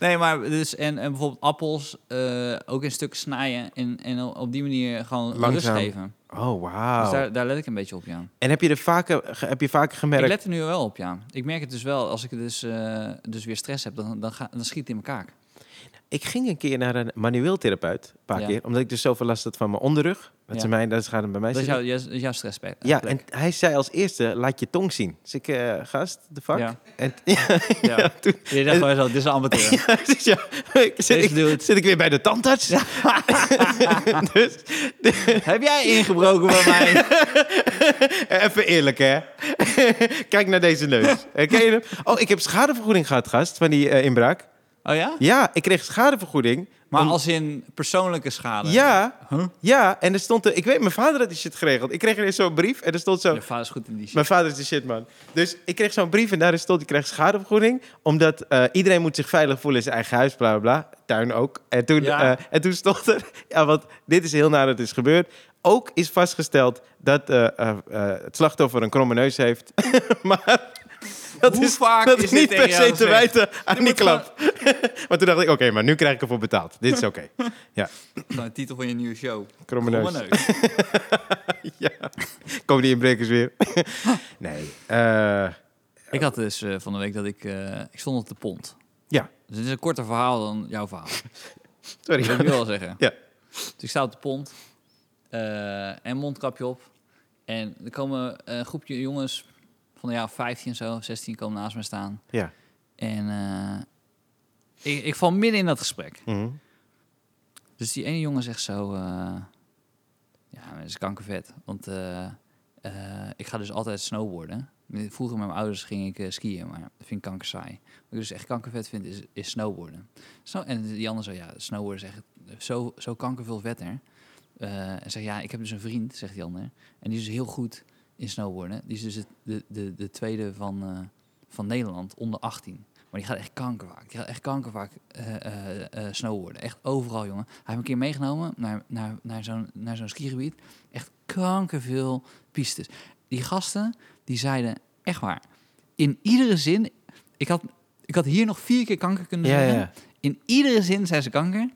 S2: Nee, maar dus... En, en bijvoorbeeld appels eh, ook in stukken snijden. En, en op die manier gewoon
S1: Langzaam.
S2: rust geven.
S1: Oh,
S2: Dus
S1: wauw.
S2: daar, daar let ik een beetje op, ja.
S1: En heb je er vaker, ge- heb je vaker
S2: Ik
S1: gemerkt...
S2: let er nu wel op, ja. Ik merk het dus wel. Als ik dus, eh, dus weer stress heb, dan, dan, ga, dan schiet het in mijn kaak.
S1: Ik ging een keer naar een manueel therapeut, een paar
S2: Ja.
S1: keer. Omdat ik dus zoveel last had van mijn onderrug. Dat,
S2: Ja.
S1: is mijn, dat gaat hem bij mij
S2: Dat is
S1: zitten.
S2: jouw, jou, jouw stressplek.
S1: Ja, en hij zei als eerste, laat je tong zien. Dus ik, eh, gast, de fuck? [laughs]
S2: Ja.
S1: En,
S2: Ja.
S1: [laughs]
S2: Je dacht gewoon zo, dit is een amateur.
S1: Ja, precies, ja. [laughs] Ik zit,
S2: Deze
S1: ik, [laughs]
S2: dude.
S1: zit ik weer bij de tandarts? [laughs] dus
S2: Heb jij ingebroken bij mij?
S1: [laughs] even eerlijk, hè. [laughs] Kijk naar deze neus.
S2: [laughs]
S1: Herken je hem? Oh, ik heb schadevergoeding gehad, gast, van die eh, inbraak.
S2: Oh ja?
S1: Ja, ik kreeg schadevergoeding
S2: Maar
S1: Dan-
S2: als in persoonlijke schade.
S1: Ja,
S2: Huh?
S1: ja. En er stond... Er, ik weet, mijn vader had die shit geregeld. Ik kreeg er eens zo'n brief en er stond zo...
S2: Je vader is goed in die shit.
S1: Mijn vader is de shit, man. Dus ik kreeg zo'n brief en daarin stond... ik krijg schadevergoeding, omdat eh, iedereen moet zich veilig voelen in zijn eigen huis, bla, bla, bla. Tuin ook. En toen,
S2: Ja.
S1: eh, en toen stond er... [laughs] Ja, want dit is heel naar het is gebeurd. Ook is vastgesteld dat eh, eh, eh, het slachtoffer een kromme neus heeft. [laughs] maar dat
S2: Hoe
S1: is,
S2: vaak
S1: dat
S2: is
S1: is
S2: dit
S1: niet
S2: tegen
S1: per
S2: jou
S1: se te
S2: gezegd?
S1: wijten aan
S2: Dit
S1: die
S2: moet
S1: klap. [laughs] maar toen dacht ik, oké, maar nu krijg ik ervoor betaald. Dit is oké.
S2: [laughs] Nou, de titel van je nieuwe show.
S1: Kromme
S2: Kromme
S1: neus.
S2: neus.
S1: ja. Komen die inbrekers weer? [laughs] nee. eh,
S2: Ik had dus eh, van de week dat ik... eh, ik stond op de pont.
S1: Ja.
S2: Dus het is een korter verhaal dan jouw verhaal.
S1: sorry.
S2: Dat wil ik nu al zeggen.
S1: Ja.
S2: Dus ik sta op de pont. eh, en mondkapje op. En er komen eh, een groepje jongens van de jaar 15 of zo, 16, komen naast me staan.
S1: Ja.
S2: En eh, ik, ik val midden in dat gesprek.
S1: [laughs] Mhm.
S2: Dus die ene jongen zegt zo... eh, ja, maar dat is kankervet. Want eh, eh, ik ga dus altijd snowboarden. Vroeger met mijn ouders ging ik eh, skiën, maar dat vind ik kanker saai. Wat ik dus echt kankervet vind, is, is snowboarden. Snow en die ander zo, ja, snowboarden is echt zo, zo kankerveel vetter. Eh, en zeg, ja, ik heb dus een vriend, zegt die ander. En die is dus heel goed in snowboarden. Die is dus het- de, de, de tweede van, eh, van Nederland, onder 18. Maar die gaat echt kankervaak. Die gaat echt kankervaak eh eh, eh, snowboarden. Echt overal, jongen. Hij heeft me een keer meegenomen naar, naar, naar zo'n naar zo'n skigebied. Echt kankerveel pistes. Die gasten, die zeiden echt waar. In iedere zin... Ik had, ik had hier nog vier keer kanker kunnen
S1: Ja,
S2: zeggen.
S1: ja.
S2: In iedere zin zei ze kanker.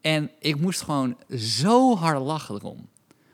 S2: En ik moest gewoon zo hard lachen erom.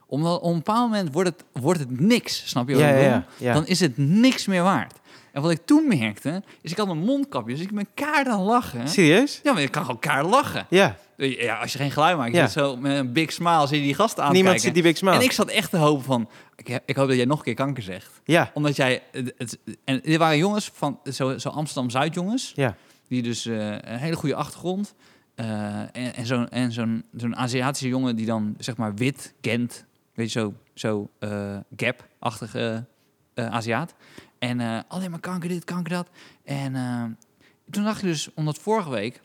S2: Omdat op een bepaald moment wordt het, wordt het niks, snap je wat
S1: Ja,
S2: ik
S1: ja,
S2: bedoel?
S1: ja, ja.
S2: Dan is het niks meer waard. En wat ik toen merkte, is ik had een mondkapje, dus ik ben kaart aan het lachen.
S1: Serieus?
S2: Ja, maar ik kan gewoon kaart lachen.
S1: Ja.
S2: Weet je, Ja, als je geen geluid maakt, je
S1: Ja.
S2: zit zo met een big smile zie je die gasten aan
S1: Niemand ziet die big smile.
S2: En ik zat echt te hopen van, ik, he- ik hoop dat jij nog een keer kanker zegt.
S1: Ja.
S2: Omdat jij, het, het- en dit waren jongens van, zo, zo Amsterdam-Zuid jongens
S1: Ja.
S2: die dus eh, een hele goede achtergrond. eh, en en zo'n en zo'n zo'n Aziatische jongen die dan zeg maar wit kent. Weet je, zo, zo eh, gap-achtige eh, Aziat. En eh, alleen maar kanker dit, kanker dat. En eh, toen dacht je dus, omdat vorige week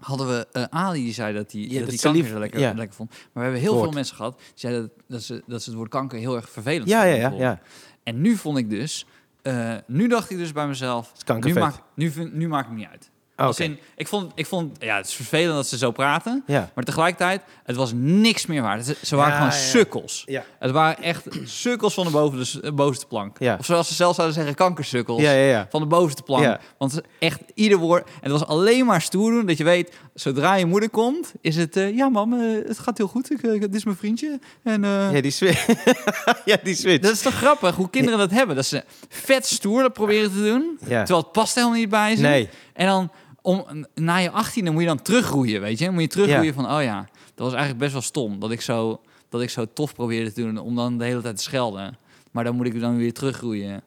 S2: hadden we eh, Ali die zei dat hij
S1: Ja,
S2: dat
S1: dat
S2: die
S1: ze
S2: kanker
S1: lief-
S2: zo lekker,
S1: ja.
S2: lekker vond. Maar we hebben heel
S1: Woord.
S2: veel mensen gehad die zeiden dat, dat, ze, dat ze het woord kanker heel erg vervelend
S1: Ja, ja,
S2: vonden.
S1: ja. ja.
S2: En nu vond ik dus, eh, nu dacht ik dus bij mezelf,
S1: is kankervet.
S2: nu maakt nu, vind- nu maakt het niet uit.
S1: Oh,
S2: Als
S1: oké.
S2: in, ik, vond, ik vond, ja, het is vervelend dat ze zo praten.
S1: Ja.
S2: Maar tegelijkertijd, het was niks meer waard. Het- Ze waren
S1: Ja,
S2: gewoon
S1: ja.
S2: sukkels.
S1: Ja.
S2: Het waren echt sukkels van de, boven de, eh, bovenste plank.
S1: Ja.
S2: Of zoals ze zelf zouden zeggen, kankersukkels.
S1: Ja, ja, ja.
S2: Van de bovenste plank.
S1: Ja.
S2: Want ze- echt ieder woord... En het was alleen maar stoer doen dat je weet... zodra je moeder komt, is het... eh, ja, mam, eh, het gaat heel goed. Ik, eh, dit is mijn vriendje. En, eh,
S1: Ja, die switch. [laughs] ja, die switch.
S2: [laughs] dat is toch grappig hoe kinderen dat hebben. Dat ze vet stoer dat proberen te doen.
S1: Ja.
S2: Terwijl het past helemaal niet bij ze.
S1: Nee.
S2: En dan om, na je 18e moet je dan teruggroeien, weet je? Dan Moet je teruggroeien
S1: Ja.
S2: van, oh ja, dat was eigenlijk best wel stom. Dat ik, zo, dat ik zo tof probeerde te doen om dan de hele tijd te schelden. Maar dan moet ik dan weer teruggroeien.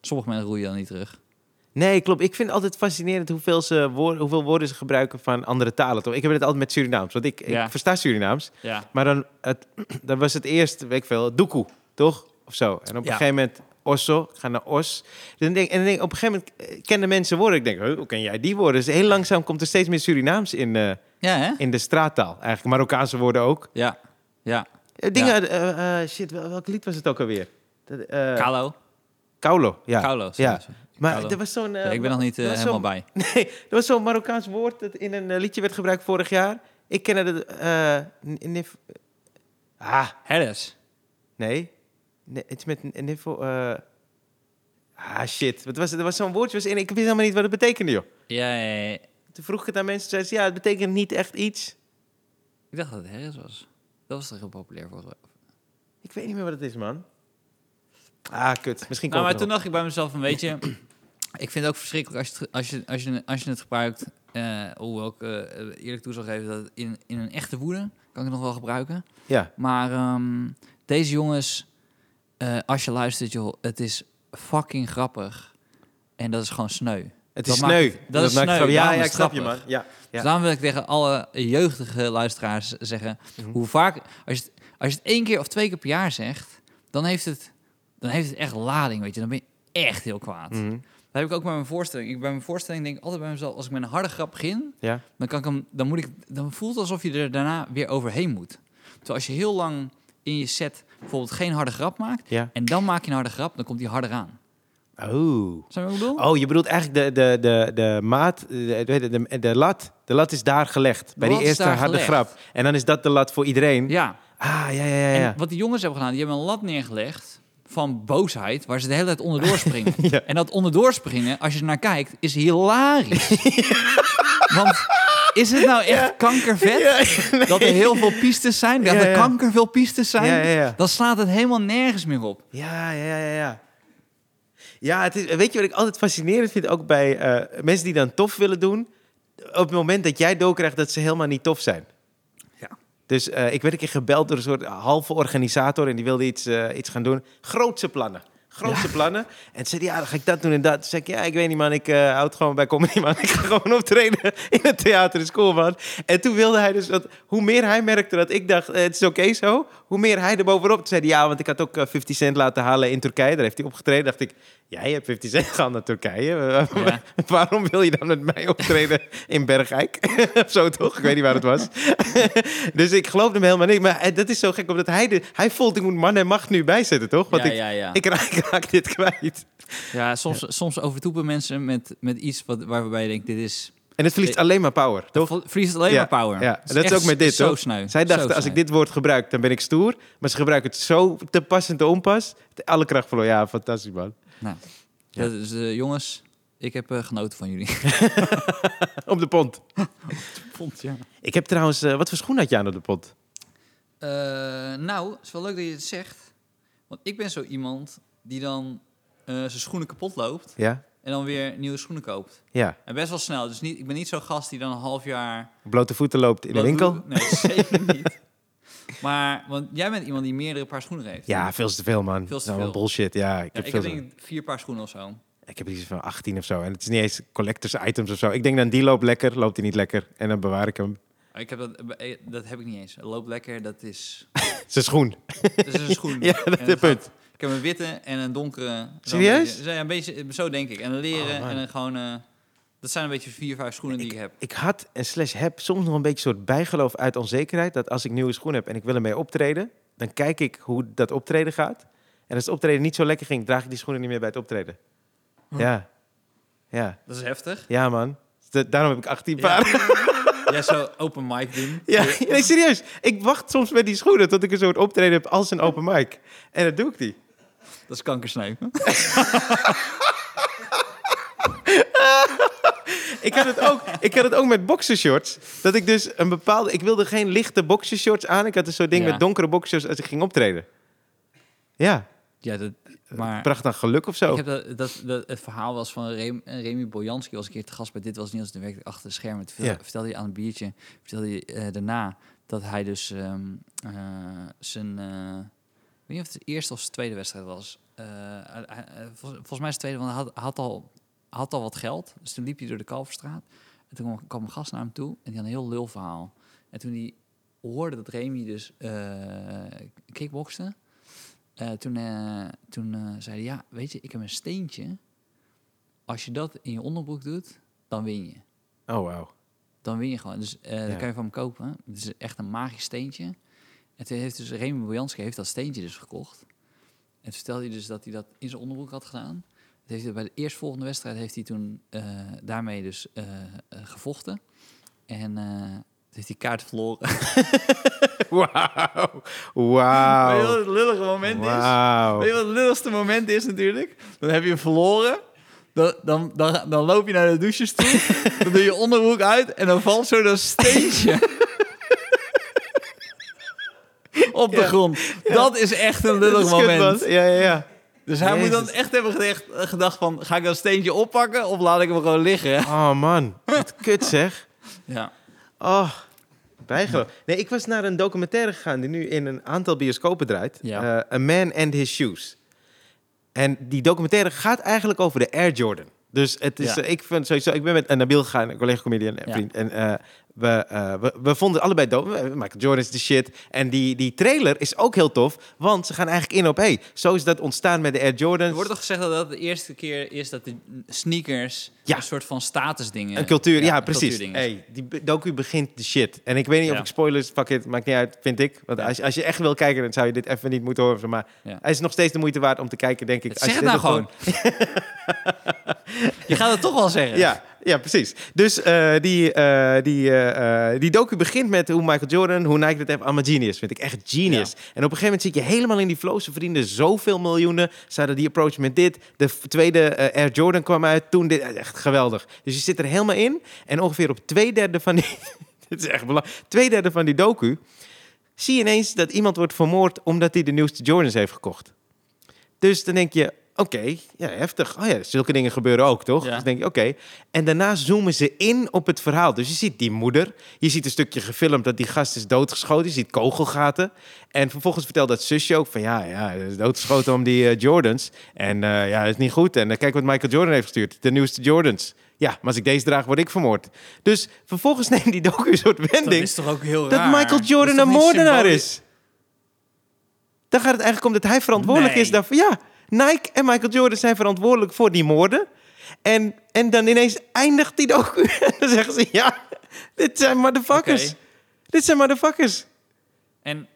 S2: Sommige mensen groeien dan niet terug.
S1: Nee, klopt. Ik vind het altijd fascinerend hoeveel, ze woor- hoeveel woorden ze gebruiken van andere talen. Toch? Ik heb het altijd met Surinaams. Want ik,
S2: Ja.
S1: ik versta Surinaams.
S2: Ja.
S1: Maar dan, het, [clears throat] dan was het eerst, weet ik veel, doekoe, toch? Of zo. En op een
S2: Ja.
S1: gegeven moment osso, ik ga naar os. Dan denk, en dan denk, ik, op een gegeven moment eh, kennen mensen woorden. Ik denk, huh, hoe ken jij die woorden? Dus heel langzaam komt er steeds meer Surinaams in, eh,
S2: Ja, hè?
S1: in de straattaal. Eigenlijk Marokkaanse woorden ook.
S2: Ja. Ja.
S1: Eh, Dingen, eh, eh, shit, wel- welk lied was het ook alweer? Dat, eh,
S2: Kalo.
S1: Kaulo, ja.
S2: Kalo.
S1: ja.
S2: sorry.
S1: Maar
S2: Kaulo.
S1: er was zo'n... eh,
S2: Ja, ik ben nog niet eh,
S1: er was zo'n-
S2: helemaal bij.
S1: [laughs] Nee, er was zo'n Marokkaans woord dat in een eh, liedje werd gebruikt vorig jaar. Ik ken het... eh, n- nif- ah,
S2: Harris.
S1: nee. Nee, Het is met n- niffel... eh, ah, shit. Wat was, het? er was zo'n woordje. Was in, ik wist helemaal niet wat het betekende, joh.
S2: Ja, ja, ja.
S1: Toen vroeg ik het aan mensen. Zeiden ze, ja, het betekent niet echt iets.
S2: Ik dacht dat het Harris was. Dat was toch heel populair voor
S1: Ik weet niet meer wat het is, man. Ah, kut. Misschien komt
S2: Nou, maar
S1: het
S2: toen
S1: nog.
S2: dacht ik bij mezelf van, weet je, [clears throat] ik vind het ook verschrikkelijk als je, het- als je, als je, als je het gebruikt. eh hoewel ik eh, eerlijk toe zal geven dat in, in een echte woede kan ik het nog wel gebruiken.
S1: Ja.
S2: Maar ehm, deze jongens, eh, als je luistert joh, het is fucking grappig. En dat is gewoon sneu.
S1: Het
S2: Dat
S1: is
S2: maakt
S1: sneu.
S2: het- dat is
S1: maakt het
S2: sneu.
S1: grappig. Ja,
S2: Daarom
S1: ja,
S2: is
S1: ik snap je, man.
S2: grappig.
S1: Ja.
S2: Dus daarom wil ik tegen alle jeugdige luisteraars zeggen: hoe vaak, als je, het, als je het één keer of twee keer per jaar zegt, dan heeft het, dan heeft het echt lading, weet je. Dan ben je echt heel kwaad.
S1: Mhm.
S2: heb ik ook bij mijn voorstelling. Ik, bij mijn voorstelling denk ik altijd bij mezelf, als ik met een harde grap begin,
S1: Ja.
S2: dan, kan ik hem, dan, moet ik, dan voelt het alsof je er daarna weer overheen moet. Terwijl als je heel lang in je set bijvoorbeeld geen harde grap maakt,
S1: Ja.
S2: en dan maak je een harde grap, dan komt die harder aan.
S1: Oh.
S2: Snap je wat ik bedoel?
S1: Oh, je bedoelt eigenlijk de, de, de, de maat, eh, de, de, de, de lat. De lat is daar gelegd. bij
S2: lat
S1: die
S2: is
S1: eerste
S2: daar
S1: harde
S2: gelegd.
S1: grap. En dan is dat de lat voor iedereen.
S2: Ja.
S1: Ah, ja, ja, ja. ja.
S2: En wat die jongens hebben gedaan, die hebben een lat neergelegd van boosheid, waar ze de hele tijd
S1: [laughs]
S2: onderdoor springen.
S1: Ja.
S2: En dat onderdoor springen, als je er naar kijkt,
S1: [laughs]
S2: is hilarisch. Want is het nou echt kankervet
S1: [laughs]
S2: dat er heel veel pistes zijn? Dat
S1: Ja,
S2: er
S1: ja.
S2: kankerveel pistes zijn?
S1: Ja, ja, ja.
S2: Dan slaat het helemaal nergens meer op.
S1: Ja, ja, ja, ja. Ja, het is, weet je wat ik altijd fascinerend vind? Ook bij eh, mensen die dan tof willen doen. Op het moment dat jij doorkrijgt dat ze helemaal niet tof zijn.
S2: Ja.
S1: Dus eh, ik werd een keer gebeld door een soort halve organisator. En die wilde iets, eh, iets gaan doen. Grootse plannen. Grootse plannen. En ze zei, ja, dan ga ik dat doen en dat. Toen zei ik, ja, ik weet niet, man. Ik eh houd gewoon bij comedy, man. [laughs] Ik ga gewoon optreden in het theater in school, man. En toen wilde hij dus, dat, hoe meer hij merkte dat ik dacht, eh, het is oké zo. Hoe meer hij er bovenop. Toen zei hij, ja, want ik had ook eh, 50 cent laten halen in Turkije. Daar heeft hij opgetreden. dacht ik, jij hebt 50 cent gehaald naar Turkije. [laughs] Eh,
S2: Ja.
S1: Waarom wil je dan met mij optreden in Bergijk? [laughs] of zo toch? Ik weet niet waar het was. dus ik geloofde hem helemaal niet. Maar eh, dat is zo gek, omdat hij, de, hij voelt, ik moet man en macht nu bijzetten, toch? Want
S2: ja,
S1: ik,
S2: ja, ja.
S1: Ik, raak, [laughs] ik raak dit kwijt.
S2: ja, soms, soms overtoepen mensen met, met iets wat, waarbij je denkt, dit is...
S1: En het verliest alleen maar power, toch?
S2: Vries het alleen
S1: Ja,
S2: maar power.
S1: ja.
S2: Het
S1: Dat is
S2: echt
S1: ook met dit,
S2: zo
S1: toch?
S2: sneu,
S1: Zij
S2: zo
S1: dachten, als
S2: sneu.
S1: ik dit woord gebruik, dan ben ik stoer. Maar ze gebruiken het zo te pas en te onpas. Alle kracht verloor. Ja, fantastisch, man. [laughs]
S2: Nou,
S1: Ja.
S2: dat is, eh, jongens, ik heb eh, genoten
S1: [laughs]
S2: van jullie.
S1: Op de pont.
S2: Vond, ja.
S1: Ik heb trouwens... eh, wat voor schoen had je aan op de pont?
S2: Eh, nou, het is wel leuk dat je het zegt. Want ik ben zo iemand die dan eh, zijn schoenen kapot loopt
S1: Ja?
S2: en dan weer nieuwe schoenen koopt.
S1: Ja.
S2: En best wel snel. Dus niet, ik ben niet zo'n gast die dan een half jaar...
S1: Blote voeten loopt in de winkel.
S2: Nee, zeker niet. [laughs] Maar, want jij bent iemand die meerdere paar schoenen heeft.
S1: Ja, veel te veel, man.
S2: Veel te
S1: Dat is allemaal
S2: veel.
S1: bullshit. Ja, ik
S2: Ja,
S1: heb
S2: ik
S1: veel
S2: heb
S1: te-
S2: denk ik vier paar schoenen of zo.
S1: Ik heb iets van 18 of zo. En het is niet eens collectors items of zo. Ik denk dan die loopt lekker, loopt die niet lekker. En dan bewaar ik hem.
S2: Ik heb dat, eh, dat heb ik niet eens. Loop lekker, dat is,
S1: Zijn schoen.
S2: dat is
S1: [laughs]
S2: een schoen.
S1: Ja, dat
S2: En
S1: is punt.
S2: gaat- Ik heb een witte en een donkere.
S1: Serieus?
S2: Zo, ja, een beetje, zo denk ik. En een leren
S1: Oh, man.
S2: en een gewone... Dat zijn een beetje vier, vijf schoenen die ik heb.
S1: Ik had en slash heb soms nog een beetje een soort bijgeloof uit onzekerheid. Dat als ik nieuwe schoenen heb en ik wil ermee optreden. Dan kijk ik hoe dat optreden gaat. En als het optreden niet zo lekker ging, draag ik die schoenen niet meer bij het optreden. Ja. Ja.
S2: Dat is heftig.
S1: Ja, man. Da- Daarom heb ik 18
S2: Ja.
S1: paar.
S2: Jij zou open mic doen.
S1: Ja, nee, serieus. Ik wacht soms met die schoenen tot ik een soort optreden heb als een open mic. En dat doe ik die.
S2: Dat is kankersnij.
S1: Ik had, het ook, ik had het ook met boxershorts. Dat ik dus een bepaalde... Ik wilde geen lichte boxershorts aan. Ik had een soort ding
S2: Ja.
S1: met donkere boxershorts als ik ging optreden. Ja,
S2: Ja, dat, maar
S1: bracht dan geluk of zo.
S2: ik heb dat, dat, dat, het verhaal was van Rem, eh, Remy Bojanski. was een keer te gast bij Dit Was Niels. De werkte achter de schermen. Toen
S1: Ja.
S2: vertelde hij aan een biertje. Vertelde hij eh, daarna dat hij dus ehm, eh, zijn... eh, ik weet niet of het de eerste of zijn tweede wedstrijd was. Eh, hij- hij- eh, vol- volgens mij zijn tweede, want hij had, had, al, had al wat geld. Dus toen liep hij door de Kalverstraat. En toen kwam- kwam een gast naar hem toe en die had een heel lul verhaal. En toen hij hoorde dat Remy dus eh kickboxte... eh, toen eh, toen eh, zei hij, ja, weet je, ik heb een steentje. Als je dat in je onderbroek doet, dan win je.
S1: Oh, wauw.
S2: Dan win je gewoon. Dus eh
S1: Ja.
S2: dat kan je van hem kopen. Het is echt een magisch steentje. En toen heeft dus Remy Bojanski heeft dat steentje dus gekocht. En toen vertelde hij dus dat hij dat in zijn onderbroek had gedaan. Dat heeft hij bij de eerstvolgende wedstrijd heeft hij toen eh, daarmee dus eh, eh, gevochten. En eh, toen heeft hij kaart verloren.
S1: [laughs] Wauw.
S2: Weet je
S1: Wauw.
S2: wat het lullige moment is? Weet je
S1: Wauw.
S2: wat het lulligste moment is natuurlijk? Dan heb je hem verloren. Dan, dan, dan, dan loop je naar de douches toe. [laughs] dan doe je onderbroek uit. En dan valt zo dat [laughs] steentje. op de
S1: Ja.
S2: grond. Dat is echt een lullig
S1: Dat is kut,
S2: moment.
S1: man. Ja, ja, ja.
S2: Dus hij moet dan
S1: Jezus.
S2: echt hebben gedacht, gedacht van... Ga ik dat steentje oppakken of laat ik hem gewoon liggen?
S1: Oh, man. Wat kut, zeg.
S2: Ja.
S1: Oh, bijgeloof. Nee, ik was naar een documentaire gegaan die nu in een aantal bioscopen draait.
S2: Ja.
S1: Eh, A Man and His Shoes. En die documentaire gaat eigenlijk over de Air Jordan. Dus het is,
S2: Ja.
S1: eh, ik, vind sowieso, ik ben met eh, Nabil gegaan, een collega comedian en
S2: Ja.
S1: vriend. En eh, we, eh, we, we vonden het allebei dope. Eh, Michael Jordan is de shit. En die, die trailer is ook heel tof. Want ze gaan eigenlijk in op, hey, zo is dat ontstaan met de Air
S2: Er
S1: Jordans.
S2: wordt toch gezegd dat dat de eerste keer is dat de sneakers
S1: Ja.
S2: een soort van statusdingen...
S1: Een cultuur, ja,
S2: eh, een
S1: precies.
S2: cultuurding is.
S1: Hey, die be- docu begint de shit. En ik weet niet of
S2: Ja.
S1: ik spoilers, fuck it, maakt niet uit, vind ik. Want
S2: Ja.
S1: als, je- als je echt wil kijken, dan zou je dit even niet moeten horen. Maar
S2: Ja.
S1: hij is nog steeds de moeite waard om te kijken, denk ik.
S2: Het-
S1: Als
S2: Zeg
S1: je
S2: het
S1: dit
S2: nou
S1: nog
S2: gewoon. [laughs] je gaat het toch wel zeggen.
S1: Ja, ja, precies. Dus eh, die, eh, die, eh, eh, die docu begint met hoe Michael Jordan, hoe Nike dat heeft. Allemaal genius, vind ik echt genius. En op een gegeven moment zit je helemaal in die flow. Ze verdienden zoveel miljoenen. Ze hadden die approach met dit. De f- tweede eh, Air Jordan kwam uit. Toen dit, eh, echt geweldig. Dus je zit er helemaal in. En ongeveer op twee derde van die... [laughs] dit is echt belangrijk. Twee derde van die docu zie je ineens dat iemand wordt vermoord omdat hij de nieuwste Jordans heeft gekocht. Dus dan denk je, oké, ja, heftig. Oh ja, zulke dingen gebeuren ook, toch?
S2: Ja.
S1: Dus dan denk je, oké. En daarna zoomen ze in op het verhaal. Dus je ziet die moeder, je ziet een stukje gefilmd dat die gast is doodgeschoten, je ziet kogelgaten. En vervolgens vertelt dat zusje ook van, ja, ja, hij is doodgeschoten om die eh, Jordans. En eh, ja, dat is niet goed. En dan kijk wat Michael Jordan heeft gestuurd, de nieuwste Jordans. Ja, maar als ik deze draag, word ik vermoord. Dus vervolgens [laughs] neemt die docu een soort
S2: Dat
S1: wending
S2: is toch ook heel
S1: dat
S2: raar.
S1: Michael
S2: Dat is toch
S1: Jordan een
S2: niet
S1: moordenaar
S2: symbolisch?
S1: is. Dan gaat het eigenlijk om dat hij verantwoordelijk
S2: Nee.
S1: is daarvoor. Ja, Nike en Michael Jordan zijn verantwoordelijk voor die moorden. En, en dan ineens eindigt die docu. [laughs] En dan zeggen ze, ja, dit zijn motherfuckers.
S2: Oké.
S1: Dit zijn motherfuckers.
S2: En,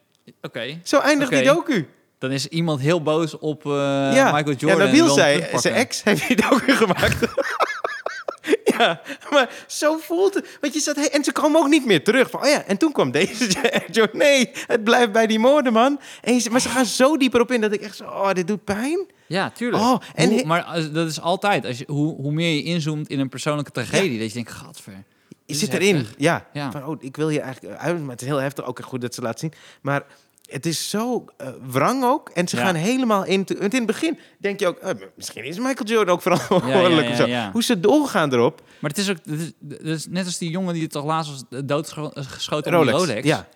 S2: oké,
S1: Zo eindigt die
S2: Oké.
S1: docu.
S2: dan is iemand heel boos op eh,
S1: ja.
S2: Michael Jordan.
S1: Ja,
S2: en
S1: Nabil
S2: wil hem
S1: zei,
S2: terugpakken.
S1: zijn ex heeft die docu gemaakt. [laughs] ja, maar zo voelt het. Want je zat, hey, en ze kwam ook niet meer terug. Van, oh ja, en toen kwam deze. [laughs] Joe, nee, het blijft bij die moorden, man. En je- maar ze gaan zo dieper op in dat ik echt zo, oh, dit doet pijn.
S2: Ja, tuurlijk.
S1: Oh, en
S2: Hoe-
S1: he-
S2: maar als- dat is altijd. Als je, hoe, hoe meer je inzoomt in een persoonlijke tragedie, dat je denkt, gadver.
S1: Je
S2: dit
S1: zit
S2: is
S1: erin,
S2: heftig.
S1: ja.
S2: Ja.
S1: Van, oh, ik wil je eigenlijk eh, uit, maar het is heel heftig. Ook echt goed dat ze laat zien. Maar het is zo eh, wrang ook. En ze
S2: Ja.
S1: gaan helemaal in... te- Want in het begin denk je ook, eh, misschien is Michael Jordan ook verantwoordelijk.
S2: Ja, ja, ja,
S1: of zo.
S2: ja.
S1: Hoe ze doorgaan erop.
S2: Maar het is ook, het is, het is net als die jongen die toch laatst was eh, doodgeschoten op
S1: Rolex.
S2: die Rolex.
S1: Ja.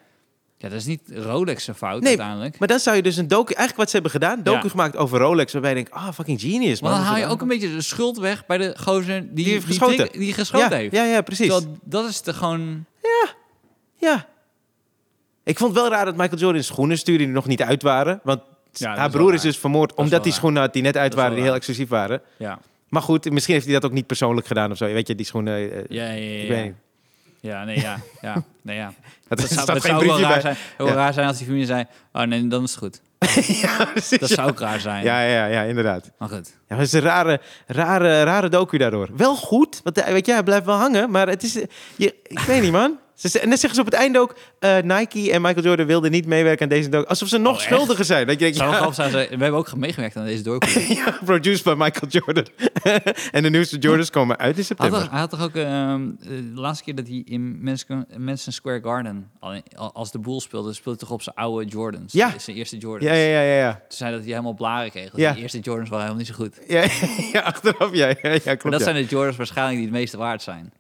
S2: ja, dat is niet Rolex zijn fout
S1: Nee,
S2: uiteindelijk.
S1: Maar dan zou je dus een docu... Eigenlijk wat ze hebben gedaan, docu
S2: Ja.
S1: gemaakt over Rolex... waarbij je denkt, ah, fucking genius, man.
S2: Maar dan
S1: Wat
S2: haal je
S1: gedaan.
S2: ook een beetje de schuld weg bij de gozer die,
S1: heeft geschoten.
S2: Die, die geschoten
S1: ja,
S2: heeft.
S1: Ja, ja, precies.
S2: Terwijl dat is te gewoon...
S1: Ja. Ik vond het wel raar dat Michael Jordan schoenen stuurde die nog niet uit waren. Want
S2: Ja, dat
S1: haar
S2: is wel
S1: broer is
S2: raar.
S1: dus vermoord
S2: is
S1: omdat
S2: wel
S1: die
S2: raar.
S1: schoenen had die net uit
S2: is wel
S1: waren... die
S2: raar.
S1: heel exclusief waren.
S2: Ja,
S1: Maar goed, misschien heeft hij dat ook niet persoonlijk gedaan of zo. Weet je, die schoenen... eh,
S2: ja, ja. ja,
S1: Ik
S2: ja.
S1: weet niet.
S2: Ja, nee, ja. ja, nee,
S1: [laughs]
S2: ja.
S1: Dat,
S2: Dat zou,
S1: staat
S2: dat
S1: geen
S2: zou wel
S1: briefje
S2: raar
S1: bij.
S2: zijn, heel
S1: Ja.
S2: raar zijn als die familie zei... Oh nee, dan is het goed.
S1: [laughs] ja, precies,
S2: Dat
S1: ja.
S2: zou ook raar zijn.
S1: ja, ja, ja, inderdaad.
S2: Maar goed.
S1: Ja, maar het is een rare, rare, rare docu daardoor. Wel goed, want eh, weet je, hij blijft wel hangen, maar het is... eh, Je, ik weet niet, man. Ze, ze- en dan zeggen ze op het einde ook... eh, Nike en Michael Jordan wilden niet meewerken aan deze docu. Alsof ze nog
S2: Oh, echt?
S1: schuldiger zijn. Dat je denkt,
S2: Zou
S1: [laughs]
S2: wel
S1: ja,
S2: grappig zijn. als wij- We hebben ook meegewerkt aan deze
S1: [laughs]
S2: doorkomen.
S1: ja, produced by Michael Jordan. [laughs] en de nieuwste Jordans komen uit in
S2: Hij had,
S1: september.
S2: toch, hij had toch ook ehm, de laatste keer dat hij in Madison Madison Square Garden al in- al- als de boel speelde, speelde hij toch op zijn oude Jordans.
S1: Ja.
S2: Zijn eerste Jordans.
S1: Ja, ja, ja, ja. ja.
S2: Toen zei dat hij helemaal blaren kreeg.
S1: Ja.
S2: Ja. De eerste Jordans waren helemaal niet zo goed.
S1: Ja, [laughs] ja, achteraf, ja, ja, ja klopt.
S2: Maar dat
S1: ja.
S2: zijn de Jordans waarschijnlijk die het meeste waard zijn.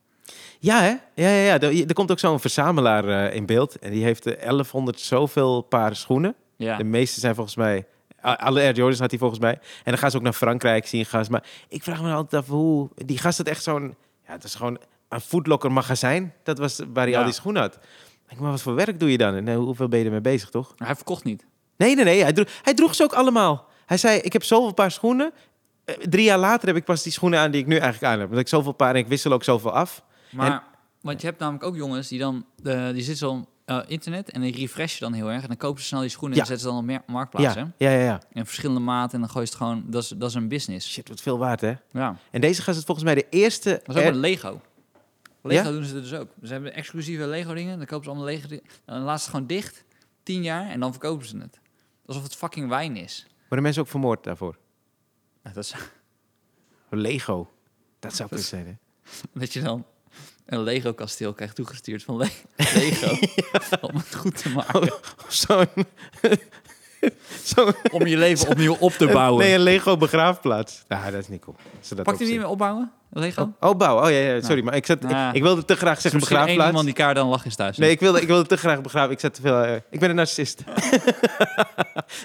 S1: Ja, hè? Ja, ja, ja. Er, er komt ook zo'n verzamelaar eh, in beeld. En die heeft eh, 1100 zoveel paar schoenen.
S2: Ja.
S1: De meeste zijn volgens mij... a- Alle Air Jordans had hij volgens mij. En dan gaan ze ook naar Frankrijk zien gaan. ze- Maar ik vraag me altijd af hoe... Die gast had echt zo'n... Ja, het is gewoon een Footlocker magazijn. Dat was waar hij
S2: Ja.
S1: al die schoenen had. Ik denk, maar wat voor werk doe je dan? En eh, hoeveel ben je ermee bezig, toch?
S2: Maar hij verkocht niet.
S1: Nee, nee, nee. Hij droeg, hij droeg ze ook allemaal. Hij zei, ik heb zoveel paar schoenen. Eh, drie jaar later heb ik pas die schoenen aan die ik nu eigenlijk aan heb. Want ik zoveel paar en ik wissel ook zoveel af.
S2: Maar, want je hebt namelijk ook jongens die dan, eh, die zitten zo op eh, internet en die refreshen dan heel erg. En dan kopen ze snel die schoenen
S1: Ja.
S2: en zetten ze dan op mer- marktplaats.
S1: Ja,
S2: hè?
S1: ja, ja, ja.
S2: In verschillende maten en dan gooi je het gewoon, dat is, dat is een business.
S1: Shit, wat veel waard, hè?
S2: Ja. Eh.
S1: En deze gast is volgens mij de eerste...
S2: Dat is ook
S1: Air-
S2: met Lego. Lego
S1: Ja?
S2: doen ze dus ook. Ze hebben exclusieve Lego dingen. Dan kopen ze allemaal Lego dingen. En dan laten ze het gewoon dicht. Tien jaar. En dan verkopen ze het. Alsof het fucking wijn is.
S1: Worden mensen ook vermoord daarvoor?
S2: Ja, Dat, is,
S1: Lego. Dat zou kunnen [laughs] zijn, hè?
S2: [laughs] dat je dan een Lego kasteel krijgt toegestuurd van Le- [laughs] Lego. Om het goed te maken.
S1: Of Zo'n... Zo'n...
S2: Om je leven opnieuw op te bouwen.
S1: Nee, een Lego begraafplaats. Nou, dat is niet cool. Ze dat
S2: Pakt u
S1: opzien.
S2: niet meer opbouwen? Lego?
S1: Oh, oh, bouw. Oh, ja, ja. Sorry,
S2: Nou.
S1: maar ik, zat, ik-
S2: Nou.
S1: ik, wilde te graag
S2: Er is
S1: zeggen
S2: misschien één
S1: begraafplaats.
S2: iemand die kaart dan lach is thuis.
S1: Nee, ik wilde, ik wilde te graag begraven. Ik zat te veel... eh, ik ben een narcist. [laughs]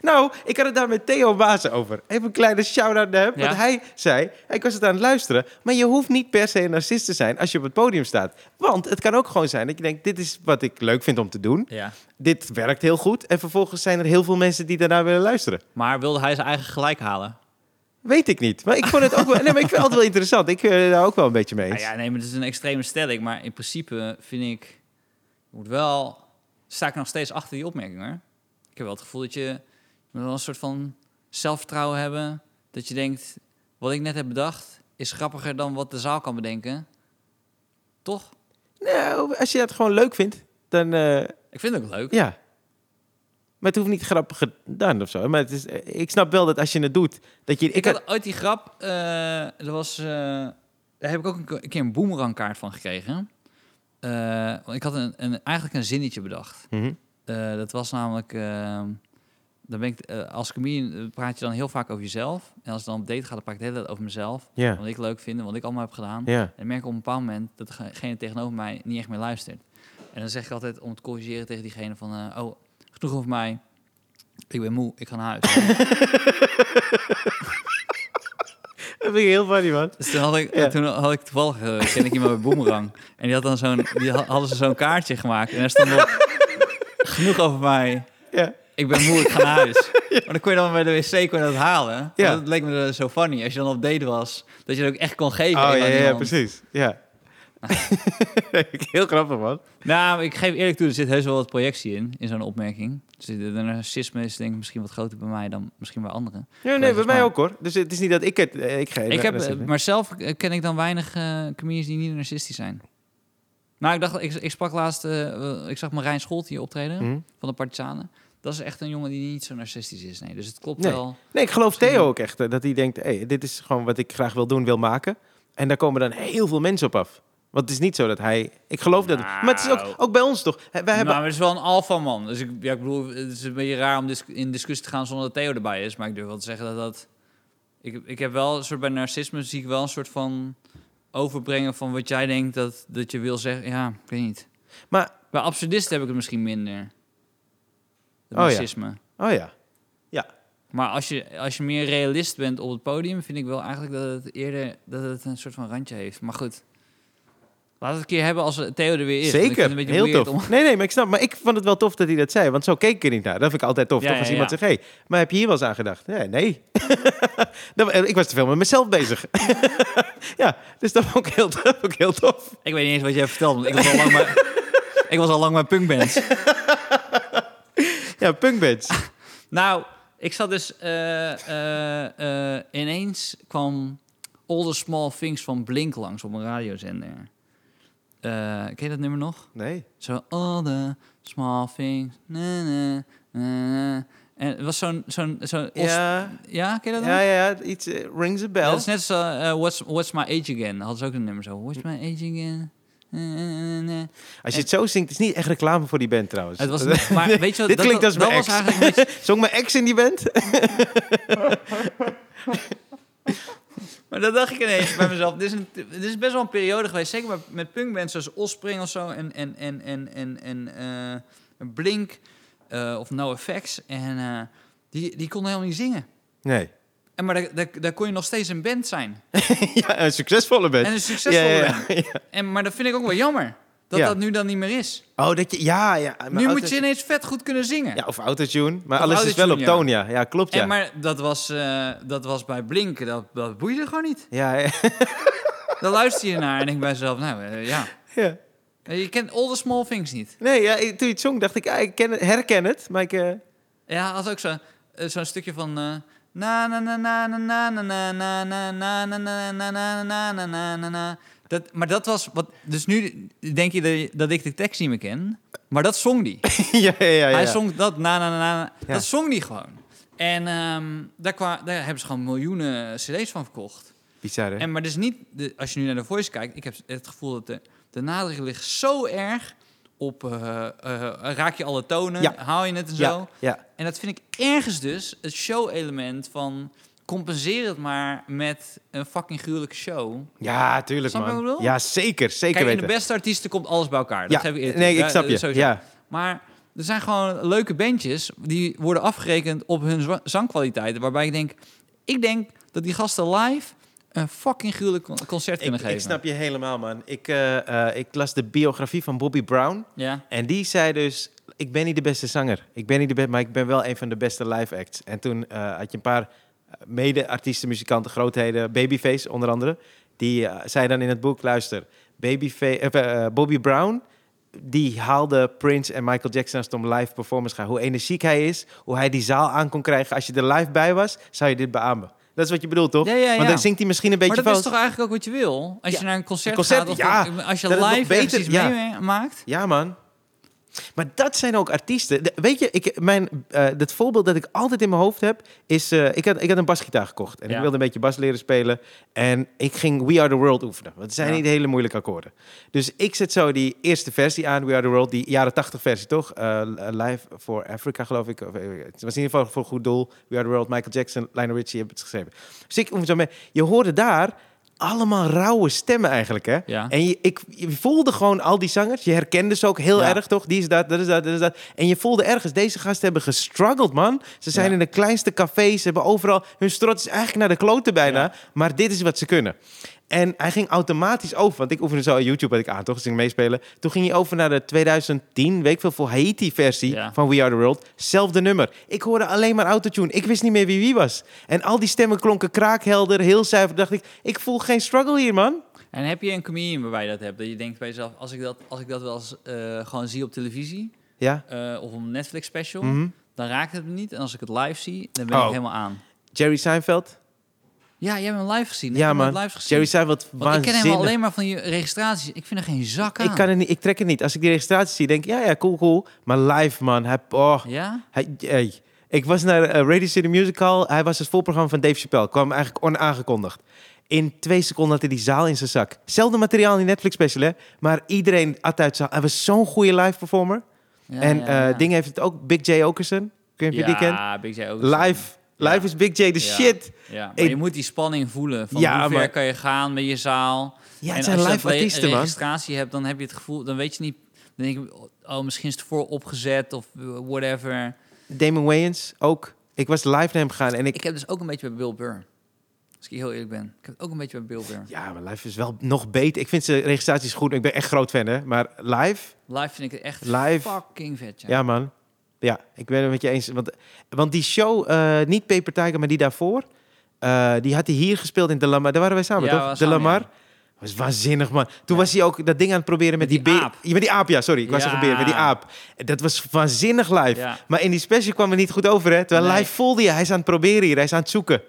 S1: Nou, ik had het daar met Theo Baas over. Even een kleine shout-out naar hem.
S2: Ja.
S1: Want hij zei, ik was het aan het luisteren... maar je hoeft niet per se een narcist te zijn als je op het podium staat. Want het kan ook gewoon zijn dat je denkt... dit is wat ik leuk vind om te doen.
S2: Ja.
S1: Dit werkt heel goed. En vervolgens zijn er heel veel mensen die daarna willen luisteren.
S2: Maar wilde hij zijn eigen gelijk halen?
S1: Weet ik niet. Maar ik vond het ook [laughs] wel... Nee, maar ik vind het altijd wel interessant. Ik eh daar ook wel een beetje mee eens.
S2: Nou ja, nee, maar dat is een extreme stelling. Maar in principe vind ik... je moet wel... Sta ik nog steeds achter die opmerking, hoor. Ik heb wel het gevoel dat je... Je moet wel een soort van zelfvertrouwen hebben. Dat je denkt... Wat ik net heb bedacht... Is grappiger dan wat de zaal kan bedenken. Toch?
S1: Nou, als je dat gewoon leuk vindt, dan... eh,
S2: Ik vind het ook leuk.
S1: Ja. Maar het hoeft niet grappig gedaan of zo. Maar het is, eh, ik snap wel dat als je het doet, dat je... Ik,
S2: Ik
S1: had,
S2: had ooit die grap, eh dat was, eh, daar heb ik ook een, ke- een keer een boemerangkaart van gekregen. Eh, want ik had een, een, eigenlijk een zinnetje bedacht.
S1: Mhm.
S2: Eh, dat was namelijk, eh, dan ben ik, eh, als comedian eh, praat je dan heel vaak over jezelf. En als het dan op date gaat, dan praat ik de hele tijd over mezelf.
S1: Ja,
S2: Wat ik leuk vind, en wat ik allemaal heb gedaan.
S1: ja.
S2: En ik merk op een bepaald moment dat degene tegenover mij niet echt meer luistert. En dan zeg ik altijd om te corrigeren tegen diegene van... eh, oh, genoeg over mij. Ik ben moe, ik ga naar huis.
S1: Dat vind ik heel funny, man.
S2: Dus toen had ik,
S1: Ja.
S2: toen had ik toevallig, eh, ken ik iemand bij Boomerang. En die, had dan zo'n, die ha- hadden ze zo'n kaartje gemaakt. En daar stond
S1: [laughs]
S2: op, genoeg over mij.
S1: Ja.
S2: Ik ben moe, ik ga naar huis. Maar dan kon je dan bij de wc kon je dat halen.
S1: Ja.
S2: Ja. Dat leek me zo funny. Als je dan op date was, dat je dat ook echt kon geven.
S1: Oh,
S2: aan
S1: ja, ja, ja,
S2: iemand.
S1: precies. Ja. [laughs] heel grappig, man.
S2: Nou, ik geef eerlijk toe, er zit heus wel wat projectie in, in zo'n opmerking. Dus de de narcisme is denk ik misschien wat groter bij mij dan misschien bij anderen.
S1: Ja, nee,
S2: dat
S1: bij
S2: is
S1: mij
S2: maar-
S1: ook, hoor. Dus het is niet dat ik het... eh, Ik, ga,
S2: ik heb, eh, maar zelf eh, ken ik dan weinig eh comedians die niet narcistisch zijn. Nou, ik dacht, ik, ik sprak laatst, eh, ik zag Marijn Scholt hier optreden
S1: Hm?
S2: van de Partizanen. Dat is echt een jongen die niet zo narcistisch is, nee. Dus het klopt
S1: Nee.
S2: wel.
S1: Nee, ik geloof Theo ook echt. eh, Dat hij denkt, hey, dit is gewoon wat ik graag wil doen, wil maken. En daar komen dan heel veel mensen op af. Want het is niet zo dat hij... Ik geloof dat... Maar het is ook,
S2: Nou.
S1: ook bij ons, toch? Wij hebben
S2: Nou, maar het is wel een alfa man. Dus ik, ja, ik bedoel, het is een beetje raar om dis- in discussie te gaan zonder dat Theo erbij is. Maar ik durf wel te zeggen dat dat... Ik, ik heb wel een soort bij narcisme zie ik wel een soort van overbrengen van wat jij denkt dat, dat je wil zeggen. Ja, ik weet niet.
S1: Maar-
S2: bij absurdisten heb ik het misschien minder.
S1: Oh ja.
S2: Het narcisme.
S1: Oh ja.
S2: Maar als je, als je meer realist bent op het podium, vind ik wel eigenlijk dat het eerder dat het een soort van randje heeft. Maar goed, laten we het een keer hebben als Theo er weer is. want ik vind het
S1: Zeker,
S2: een beetje
S1: heel
S2: weird
S1: tof.
S2: om-
S1: Nee, nee, maar ik snap. Maar ik vond het wel tof dat hij dat zei. Want zo keek ik er niet naar. Dat vind ik altijd tof.
S2: Ja,
S1: toch als
S2: ja,
S1: iemand
S2: ja.
S1: zegt, hé, hey, maar heb je hier wel eens aan gedacht? Nee, nee. [laughs] Dat- eh, ik was te veel met mezelf bezig. [laughs] ja, dus dat vond ik heel, dat vond ik heel tof.
S2: Ik weet niet eens wat jij vertelt, want ik was al lang bij, ik was al lang bij punkbands.
S1: Ja, punkbands.
S2: Nou, ik zat dus... eh, eh, eh, ineens kwam All the Small Things van Blink langs op een radiozender. Eh, ken je dat nummer nog?
S1: Nee.
S2: Zo, all the small things, na, na, na, na. En het was zo'n... zo'n zo'n Oost-
S1: Ja,
S2: ja, ken je dat nog?
S1: ja, ja, ja, iets eh, rings a bell.
S2: Dat is net zo eh, what's, what's My Age Again. Hadden ze ook een nummer zo. What's My Age Again? Na, na, na, na.
S1: Als je het zo zingt, het is niet echt reclame voor die band trouwens. [laughs]
S2: Het was, een- maar weet je wat,
S1: Dit
S2: dat,
S1: klinkt
S2: dat,
S1: als mijn ex.
S2: was eigenlijk
S1: [laughs]
S2: een beetje-
S1: Zong mijn ex in die band?
S2: Maar dat dacht ik ineens bij mezelf. Dit is, een, dit is best wel een periode geweest. Zeker met, met punkbands zoals Ospring of zo. En, en, en, en, en, en eh, Blink eh, of No Effects. En eh, die, die konden helemaal niet zingen.
S1: Nee. [laughs]
S2: En maar daar, daar, daar kon je nog steeds een band zijn.
S1: ja, een succesvolle band.
S2: En een succesvolle
S1: Ja, ja,
S2: band.
S1: ja.
S2: En, maar dat vind ik ook wel jammer. Dat
S1: Ja.
S2: dat nu dan niet meer is.
S1: [laughs] Oh, dat je... Ja, ja. maar
S2: nu
S1: oud-
S2: moet je ineens vet goed kunnen zingen.
S1: Ja, of autotune. Maar
S2: Of
S1: alles is wel op
S2: autotune, ja.
S1: toon, ja. Ja, klopt, ja.
S2: En maar dat was, eh, dat was bij Blink, dat, dat boeide gewoon niet.
S1: Ja, [laughs] ja.
S2: Dan luister je naar en denk bij jezelf, nou eh, ja.
S1: ja.
S2: Je kent all the small things niet.
S1: Nee, ja, ik- toen je het zong dacht ik, ja, ik ken het- herken het, maar ik... eh, [laughs]
S2: Ja, had ook zo, eh, zo'n stukje van. eh, Na na na na na na na na na na na na na na na na na na na na Dat, maar dat was wat. Dus nu denk je dat- dat ik de tekst niet meer ken. Maar dat zong die.
S1: ja, ja, ja, ja.
S2: Hij zong dat na na na na.
S1: Ja.
S2: Dat zong die gewoon. En ehm, daar, kwa, daar hebben ze gewoon miljoenen CD's van verkocht.
S1: Bizar, hè?
S2: En, maar dus niet, de, als je nu naar de voice kijkt, ik heb het gevoel dat de, de nadruk ligt zo erg op eh, eh, raak je alle tonen,
S1: Ja.
S2: haal je het en zo.
S1: ja, ja.
S2: En dat vind ik ergens dus het show-element van compenseer het maar met een fucking gruwelijke show.
S1: ja, tuurlijk,
S2: Snap je wat ik
S1: man.
S2: bedoel?
S1: Ja, zeker, zeker
S2: Kijk, in de
S1: weten.
S2: beste artiesten komt alles bij elkaar. Dat heb ik eerlijk
S1: nee, ik
S2: gezegd.
S1: snap
S2: Ja,
S1: je.
S2: sowieso.
S1: Ja,
S2: Maar er zijn gewoon leuke bandjes die worden afgerekend op hun zwa- zangkwaliteiten. Waarbij ik denk, ik denk dat die gasten live een fucking gruwelijk con- concert
S1: Ik,
S2: kunnen geven.
S1: ik snap je helemaal, man. Ik, eh, eh, ik las de biografie van Bobby Brown.
S2: Ja.
S1: En die zei dus, ik ben niet de beste zanger. Ik ben niet de beste, maar ik ben wel een van de beste live acts. En toen eh, had je een paar eh, mede-artiesten, muzikanten, grootheden, Babyface onder andere. Die eh, zei dan in het boek, luister, Babyface, eh, eh, Bobby Brown, die haalde Prince en Michael Jackson als het om live performance gaat. Hoe energiek hij is, hoe hij die zaal aan kon krijgen. Als je er live bij was, zou je dit beamen. Dat is wat je bedoelt, toch?
S2: Ja, ja, ja.
S1: Want dan zingt hij misschien een beetje
S2: Maar dat is
S1: fout.
S2: toch eigenlijk ook wat je wil? Als
S1: Ja,
S2: je naar een concert,
S1: concert,
S2: gaat, of
S1: ja,
S2: ook- als je
S1: dat het nog
S2: live
S1: beter-
S2: beter, iets
S1: ja.
S2: meemaakt.
S1: Ja, man. Maar dat zijn ook artiesten. De- weet je, ik, mijn, eh dat voorbeeld dat ik altijd in mijn hoofd heb, is... eh, ik, had, ik had een basgitaar gekocht en
S2: Ja.
S1: ik wilde een beetje bas leren spelen. En ik ging We Are The World oefenen, want het zijn
S2: Ja.
S1: niet hele moeilijke akkoorden. Dus ik zet zo die eerste versie aan, We Are The World, die jaren 80 versie, toch? Eh, Live for Africa, geloof ik. Of, eh, het was in ieder geval voor een goed doel. We Are The World, Michael Jackson, Lionel Richie hebben het geschreven. Dus ik oefen zo mee. Je hoorde daar allemaal rauwe stemmen eigenlijk, hè?
S2: Ja.
S1: En je, ik, je voelde gewoon al die zangers. Je herkende ze ook heel
S2: Ja.
S1: erg, toch? Die is dat, dat is dat, dat is dat. En je voelde ergens, deze gasten hebben gestruggeld, man. Ze zijn
S2: Ja.
S1: in de kleinste cafés, ze hebben overal... Hun strot is eigenlijk naar de kloten bijna.
S2: Ja.
S1: Maar dit is wat ze kunnen. En hij ging automatisch over, want ik oefende zo YouTube had ik aan, toch? Dus ik ging meespelen. Toen ging hij over naar de 2010, weet ik veel, voor Haiti-versie
S2: Ja.
S1: van We Are The World. Zelfde nummer. Ik hoorde alleen maar autotune. Ik wist niet meer wie wie was. En al die stemmen klonken kraakhelder, heel zuiver. dacht ik, ik voel geen struggle hier, man.
S2: En heb je een comedian waarbij je dat hebt? Dat je denkt bij jezelf, als ik dat, als ik dat wel eens eh, gewoon zie op televisie
S1: Ja.
S2: eh, of op een Netflix special,
S1: Mhm.
S2: dan raakt het me niet. En als ik het live zie, dan ben
S1: Oh.
S2: ik helemaal aan.
S1: Jerry Seinfeld?
S2: Ja, jij hebt hem live gezien.
S1: ja,
S2: ik heb hem
S1: man.
S2: live gezien.
S1: Jerry Seinfeld,
S2: Want ik ken hem
S1: waanzinnig.
S2: alleen maar van je registraties. Ik vind er geen zak aan.
S1: Ik, kan het niet, ik trek het niet. Als ik die registratie zie, denk ik, ja, ja, cool, cool. Maar live, man. Hij, oh,
S2: Ja?
S1: hij, hey. Ik was naar eh, Radio City Music Hall. Hij was het voorprogramma van Dave Chappelle. Kwam eigenlijk onaangekondigd. In twee seconden had hij die zaal in zijn zak. Zelfde materiaal in die Netflix special, hè. Maar iedereen had uit zaal. Hij was zo'n goede live performer.
S2: Ja,
S1: en
S2: ja,
S1: eh
S2: ja.
S1: Ding heeft het ook. Big J. Okerson. Ik weet niet of je die kent.
S2: Ja, Big J ook.
S1: Live,
S2: Ja.
S1: live is Big J de
S2: Ja.
S1: shit.
S2: Ja, maar
S1: Ik-
S2: je moet die spanning voelen. Van
S1: Ja,
S2: hoe ver
S1: maar-
S2: kan je gaan met je zaal?
S1: Ja, het
S2: en
S1: zijn
S2: als je
S1: live
S2: dat bij
S1: artiesten,
S2: een
S1: man.
S2: registratie hebt, dan heb je het gevoel... Dan weet je niet... Dan denk ik, oh, misschien is het voor opgezet of whatever.
S1: Damon Wayans ook. Ik was live naar hem gegaan en ik...
S2: Ik heb dus ook een beetje bij Bill Burr. Als ik heel eerlijk ben. Ik heb het ook een beetje bij Bill Burr.
S1: Ja, maar live is wel nog beter. Ik vind zijn registraties goed. Ik ben echt groot fan, hè. Maar live...
S2: Live vind ik het echt
S1: Live-
S2: fucking vet.
S1: Ja,
S2: Ja.
S1: man. Ja, ik ben het met je eens. Want, want die show, eh, niet Paper Tiger, maar die daarvoor... eh, die had hij hier gespeeld in De Lamar. Daar waren wij samen,
S2: Ja, we
S1: toch? De
S2: waren samen,
S1: Lamar.
S2: ja.
S1: was waanzinnig, man. Toen was hij ook dat ding aan het proberen met,
S2: Met die
S1: beer.
S2: aap.
S1: Ja, met die aap, ja, sorry. Ik was
S2: Ja.
S1: er gebeurd, met die aap. Dat was waanzinnig live.
S2: Ja.
S1: Maar in die special kwam het niet goed over, hè. Terwijl
S2: Nee.
S1: live voelde je, hij is aan het proberen hier. Hij is aan het zoeken.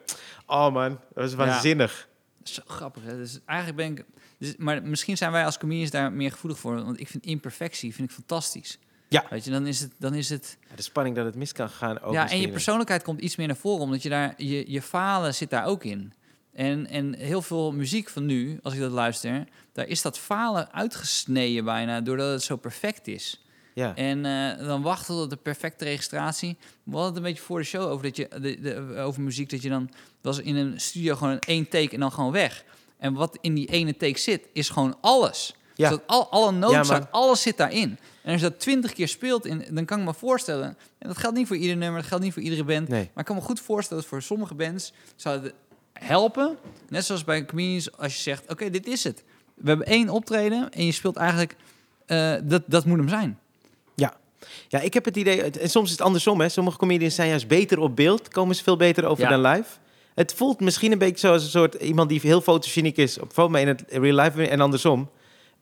S1: Oh, man. Dat was waanzinnig.
S2: Zo grappig. Hè? Dus eigenlijk ben ik... Dus, maar misschien zijn wij als comedians daar meer gevoelig voor. Want ik vind imperfectie vind ik fantastisch.
S1: Ja.
S2: Weet je, dan is het... Dan is het
S1: Ja, De spanning dat het mis kan gaan ook
S2: ja,
S1: misschien.
S2: en je persoonlijkheid komt iets meer naar voren, omdat je daar je, je falen zit daar ook in. En, en heel veel muziek van nu, als ik dat luister, daar is dat falen uitgesneden bijna, doordat het zo perfect is.
S1: Ja.
S2: En eh, dan wachten tot de perfecte registratie. We hadden het een beetje voor de show over, dat je, de, de- over muziek, dat je dan was in een studio gewoon één take en dan gewoon weg. En wat in die ene take zit, is gewoon alles.
S1: Ja.
S2: Dus dat al, alle
S1: Ja,
S2: noten,
S1: maar-
S2: alles zit daarin. En als je dat twintig keer speelt, in, dan kan ik me voorstellen... en dat geldt niet voor ieder nummer, dat geldt niet voor iedere band...
S1: Nee.
S2: maar ik kan me goed voorstellen dat voor sommige bands zou het helpen. Net zoals bij comedians, als je zegt, oké, dit is het. We hebben één optreden en je speelt eigenlijk... eh, dat, dat moet hem zijn.
S1: Ja. ja, ik heb het idee... het- En soms is het andersom, hè. Sommige comedians zijn juist beter op beeld. Komen ze veel beter over
S2: Ja.
S1: dan live. Het voelt misschien een beetje zoals een soort... Iemand die heel fotogeniek is op foto, maar in het real life en andersom.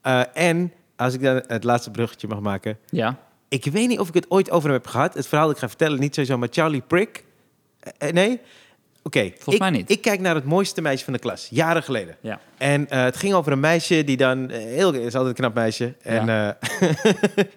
S1: Eh, en, als ik dan het laatste bruggetje mag maken...
S2: Ja.
S1: Ik weet niet of ik het ooit over hem heb gehad. Het verhaal dat ik ga vertellen, niet sowieso, maar Charlie Prick. Eh, eh, nee? Oké.
S2: Volgens
S1: ik-
S2: mij niet.
S1: Ik kijk naar het mooiste meisje van de klas, jaren geleden.
S2: Ja.
S1: En eh, het ging over een meisje die dan... eh, heel, is altijd een knap meisje. En eh,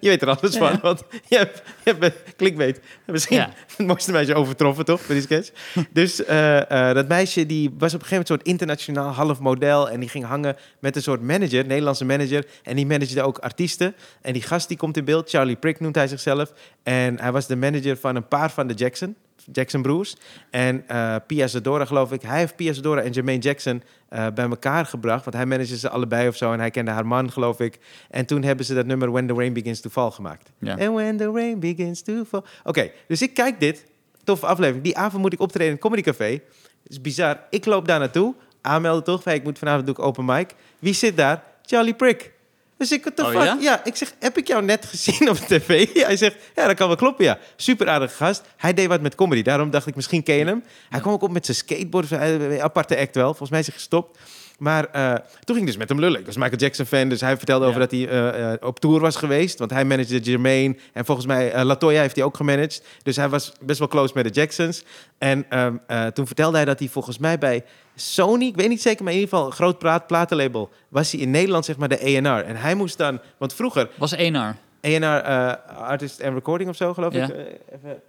S1: [laughs] je weet er alles
S2: Ja,
S1: van,
S2: ja.
S1: want je hebt, je hebt eh, clickbait. Misschien
S2: Ja.
S1: [laughs] het mooiste meisje overtroffen, toch? Bij die
S2: [laughs]
S1: sketch. dus eh, eh, dat meisje die was op een gegeven moment zo'n internationaal half model. En die ging hangen met een soort manager, Nederlandse manager. En die managede ook artiesten. En die gast die komt in beeld, Charlie Prick noemt hij zichzelf. En hij was de manager van een paar van de Jackson. Jackson Broers. En eh, Pia Zadora, geloof ik. Hij heeft Pia Zadora en Jermaine Jackson eh, bij elkaar gebracht. Want hij managde ze allebei of zo. En hij kende haar man, geloof ik. En toen hebben ze dat nummer When the Rain Begins to Fall gemaakt.
S2: Ja.
S1: And when the rain begins to fall. Oké, dus ik kijk dit. Toffe aflevering. Die avond moet ik optreden in het Comedy Café. Het is bizar. Ik loop daar naartoe. Aanmelden toch? Hey, ik moet vanavond doe ik open mic. Wie zit daar? Charlie Prick. Dus ik, what the
S2: Oh,
S1: fuck?
S2: ja?
S1: Ja, ik zeg, heb ik jou net gezien op tv? [laughs] Hij zegt, ja, dat kan wel kloppen, ja. Super aardige gast. Hij deed wat met comedy. Daarom dacht ik, misschien ken je hem. Hij kwam ook op met zijn skateboard. of zo. Hij had Een aparte act wel. Volgens mij is hij gestopt. Maar eh, toen ging ik dus met hem lullen. Ik was Michael Jackson fan, dus hij vertelde over
S2: Ja.
S1: dat hij eh, eh, op tour was geweest. Want hij managde Jermaine. En volgens mij, eh, Latoya heeft hij ook gemanaged. Dus hij was best wel close met de Jacksons. En ehm, eh, toen vertelde hij dat hij volgens mij bij Sony, ik weet niet zeker, maar in ieder geval een groot praat, platenlabel, was hij in Nederland zeg maar de ENR. En hij moest dan, want vroeger,
S2: Was 1R.
S1: ENR eh, Artist and Recording of zo geloof
S2: Ja.
S1: ik. Eh, even,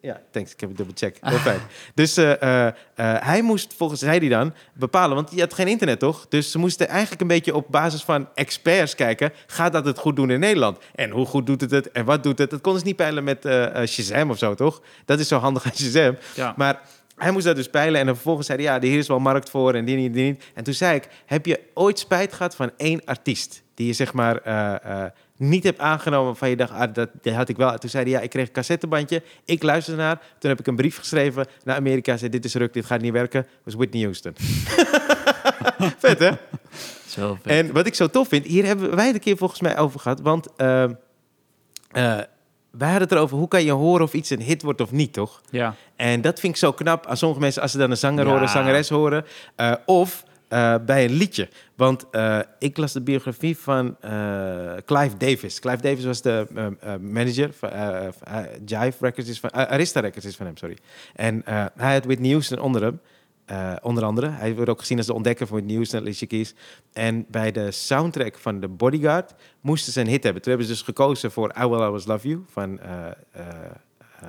S1: ja, thanks, ik heb het dubbel check. Heel fijn. Dus eh, eh, eh, hij moest volgens hij die dan bepalen, want je had geen internet toch? Dus ze moesten eigenlijk een beetje op basis van experts kijken, gaat dat het goed doen in Nederland? En hoe goed doet het het? En wat doet het? Dat konden ze niet peilen met eh, eh, Shazam of zo toch? Dat is zo handig aan Shazam.
S2: Ja.
S1: Maar hij moest dat dus peilen. En dan vervolgens zei hij, ja, hier is wel markt voor en die niet, die niet. En toen zei ik, heb je ooit spijt gehad van één artiest... die je zeg maar eh, eh, niet hebt aangenomen van je dacht, ah, dat, dat had ik wel. En toen zei hij, ja, ik kreeg een cassettebandje. Ik luisterde naar. Toen heb ik een brief geschreven naar Amerika. Zei, dit is ruk, dit gaat niet werken. was Whitney Houston. [laughs] Vet, hè?
S2: Zo vet.
S1: En wat ik zo tof vind, hier hebben wij het een keer volgens mij over gehad. Want eh, eh, wij hadden het erover, hoe kan je horen of iets een hit wordt of niet, toch?
S2: Ja.
S1: En dat vind ik zo knap aan sommige mensen als ze dan een zanger
S2: Ja.
S1: horen, een zangeres horen. eh, of eh, bij een liedje. Want eh, ik las de biografie van eh, Clive Davis. Clive Davis was de eh, eh, manager van eh, eh, Jive Records, is van, eh, Arista Records is van hem, sorry. En eh, hij had Whitney Houston onder hem. eh, onder andere. Hij wordt ook gezien als de ontdekker van Whitney Houston, Alicia Keys. En bij de soundtrack van The Bodyguard moesten ze een hit hebben. Toen hebben ze dus gekozen voor I Will Always Love You van eh, eh, eh,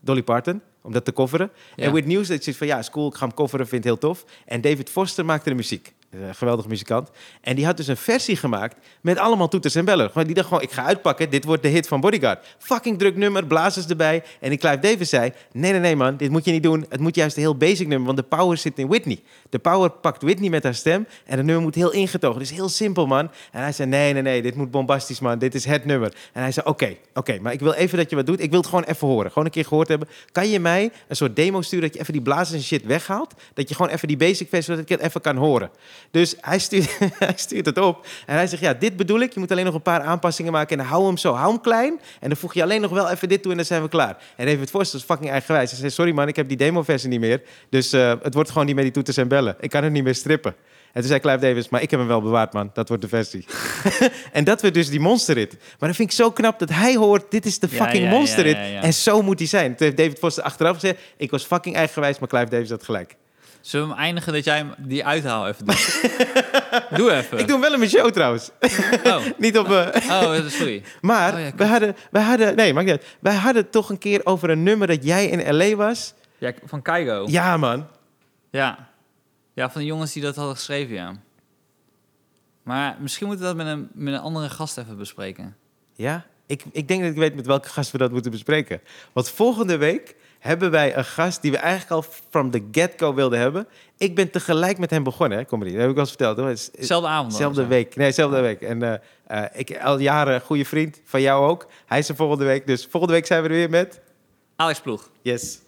S1: Dolly Parton, om dat te coveren.
S2: Ja.
S1: En Whitney Houston zit van, ja, is cool, ik ga hem coveren, vind het heel tof. En David Foster maakte de muziek. Een geweldige muzikant. En die had dus een versie gemaakt met allemaal toeters en bellen. Gewoon, die dacht gewoon, ik ga uitpakken, dit wordt de hit van Bodyguard. Fucking druk nummer, blazers erbij. En die Clive Davis zei, nee, nee, nee man, dit moet je niet doen. Het moet juist een heel basic nummer, want de power zit in Whitney. De power pakt Whitney met haar stem en het nummer moet heel ingetogen. Dus heel simpel, man. En hij zei, nee, nee, nee, dit moet bombastisch, man. Dit is het nummer. En hij zei, oké, oké, maar ik wil even dat je wat doet. Ik wil het gewoon even horen. Gewoon een keer gehoord hebben. Kan je mij een soort demo sturen dat je even die blazers en shit weghaalt? Dat je gewoon even die basic versie, zodat ik het even kan horen. Dus hij stuurt, [laughs] hij stuurt het op en hij zegt, ja, dit bedoel ik. Je moet alleen nog een paar aanpassingen maken en hou hem zo, hou hem klein. En dan voeg je alleen nog wel even dit toe en dan zijn we klaar. En David Foster is fucking eigenwijs. Hij zei, sorry man, ik heb die demo-versie niet meer. Dus eh, het wordt gewoon niet meer die toeters en bellen. Ik kan hem niet meer strippen. En toen zei Clive Davis, maar ik heb hem wel bewaard, man. Dat wordt de versie. [laughs] en dat werd dus die monsterrit. Maar dat vind ik zo knap dat hij hoort, dit is de
S2: Ja,
S1: fucking
S2: ja, ja,
S1: monsterrit.
S2: ja, ja.
S1: En zo moet hij zijn. Toen heeft David Foster achteraf gezegd, ik was fucking eigenwijs, maar Clive Davis had gelijk.
S2: Zullen we hem eindigen dat jij hem die uithaal
S1: [laughs]
S2: even doet? Doe even.
S1: Ik doe hem wel in mijn show trouwens. [laughs]
S2: Oh,
S1: Niet op... eh,
S2: oh sorry.
S1: Maar
S2: Oh ja,
S1: we,
S2: klopt.
S1: hadden, we hadden. Nee, maakt niet uit. Wij hadden toch een keer over een nummer dat jij in LA was.
S2: Ja, van Keigo.
S1: Ja, man.
S2: Ja. Ja, van de jongens die dat hadden geschreven, ja. Maar misschien moeten we dat met een, met een andere gast even bespreken.
S1: Ja, ik, ik denk dat ik weet met welke gast we dat moeten bespreken. Want volgende week hebben wij een gast die we eigenlijk al from the get-go wilden hebben. Ik ben tegelijk met hem begonnen, hè, comedy. Dat heb ik al eens verteld. Hoor. Het is- het-
S2: Zelfde avond. dan,
S1: Eh, Zelfde
S2: of zo.
S1: week. Nee, zelfde week. En eh, eh, ik al jaren een goede vriend van jou ook. Hij is er volgende week. Dus volgende week zijn we er weer met.
S2: Alex Ploeg.
S1: Yes.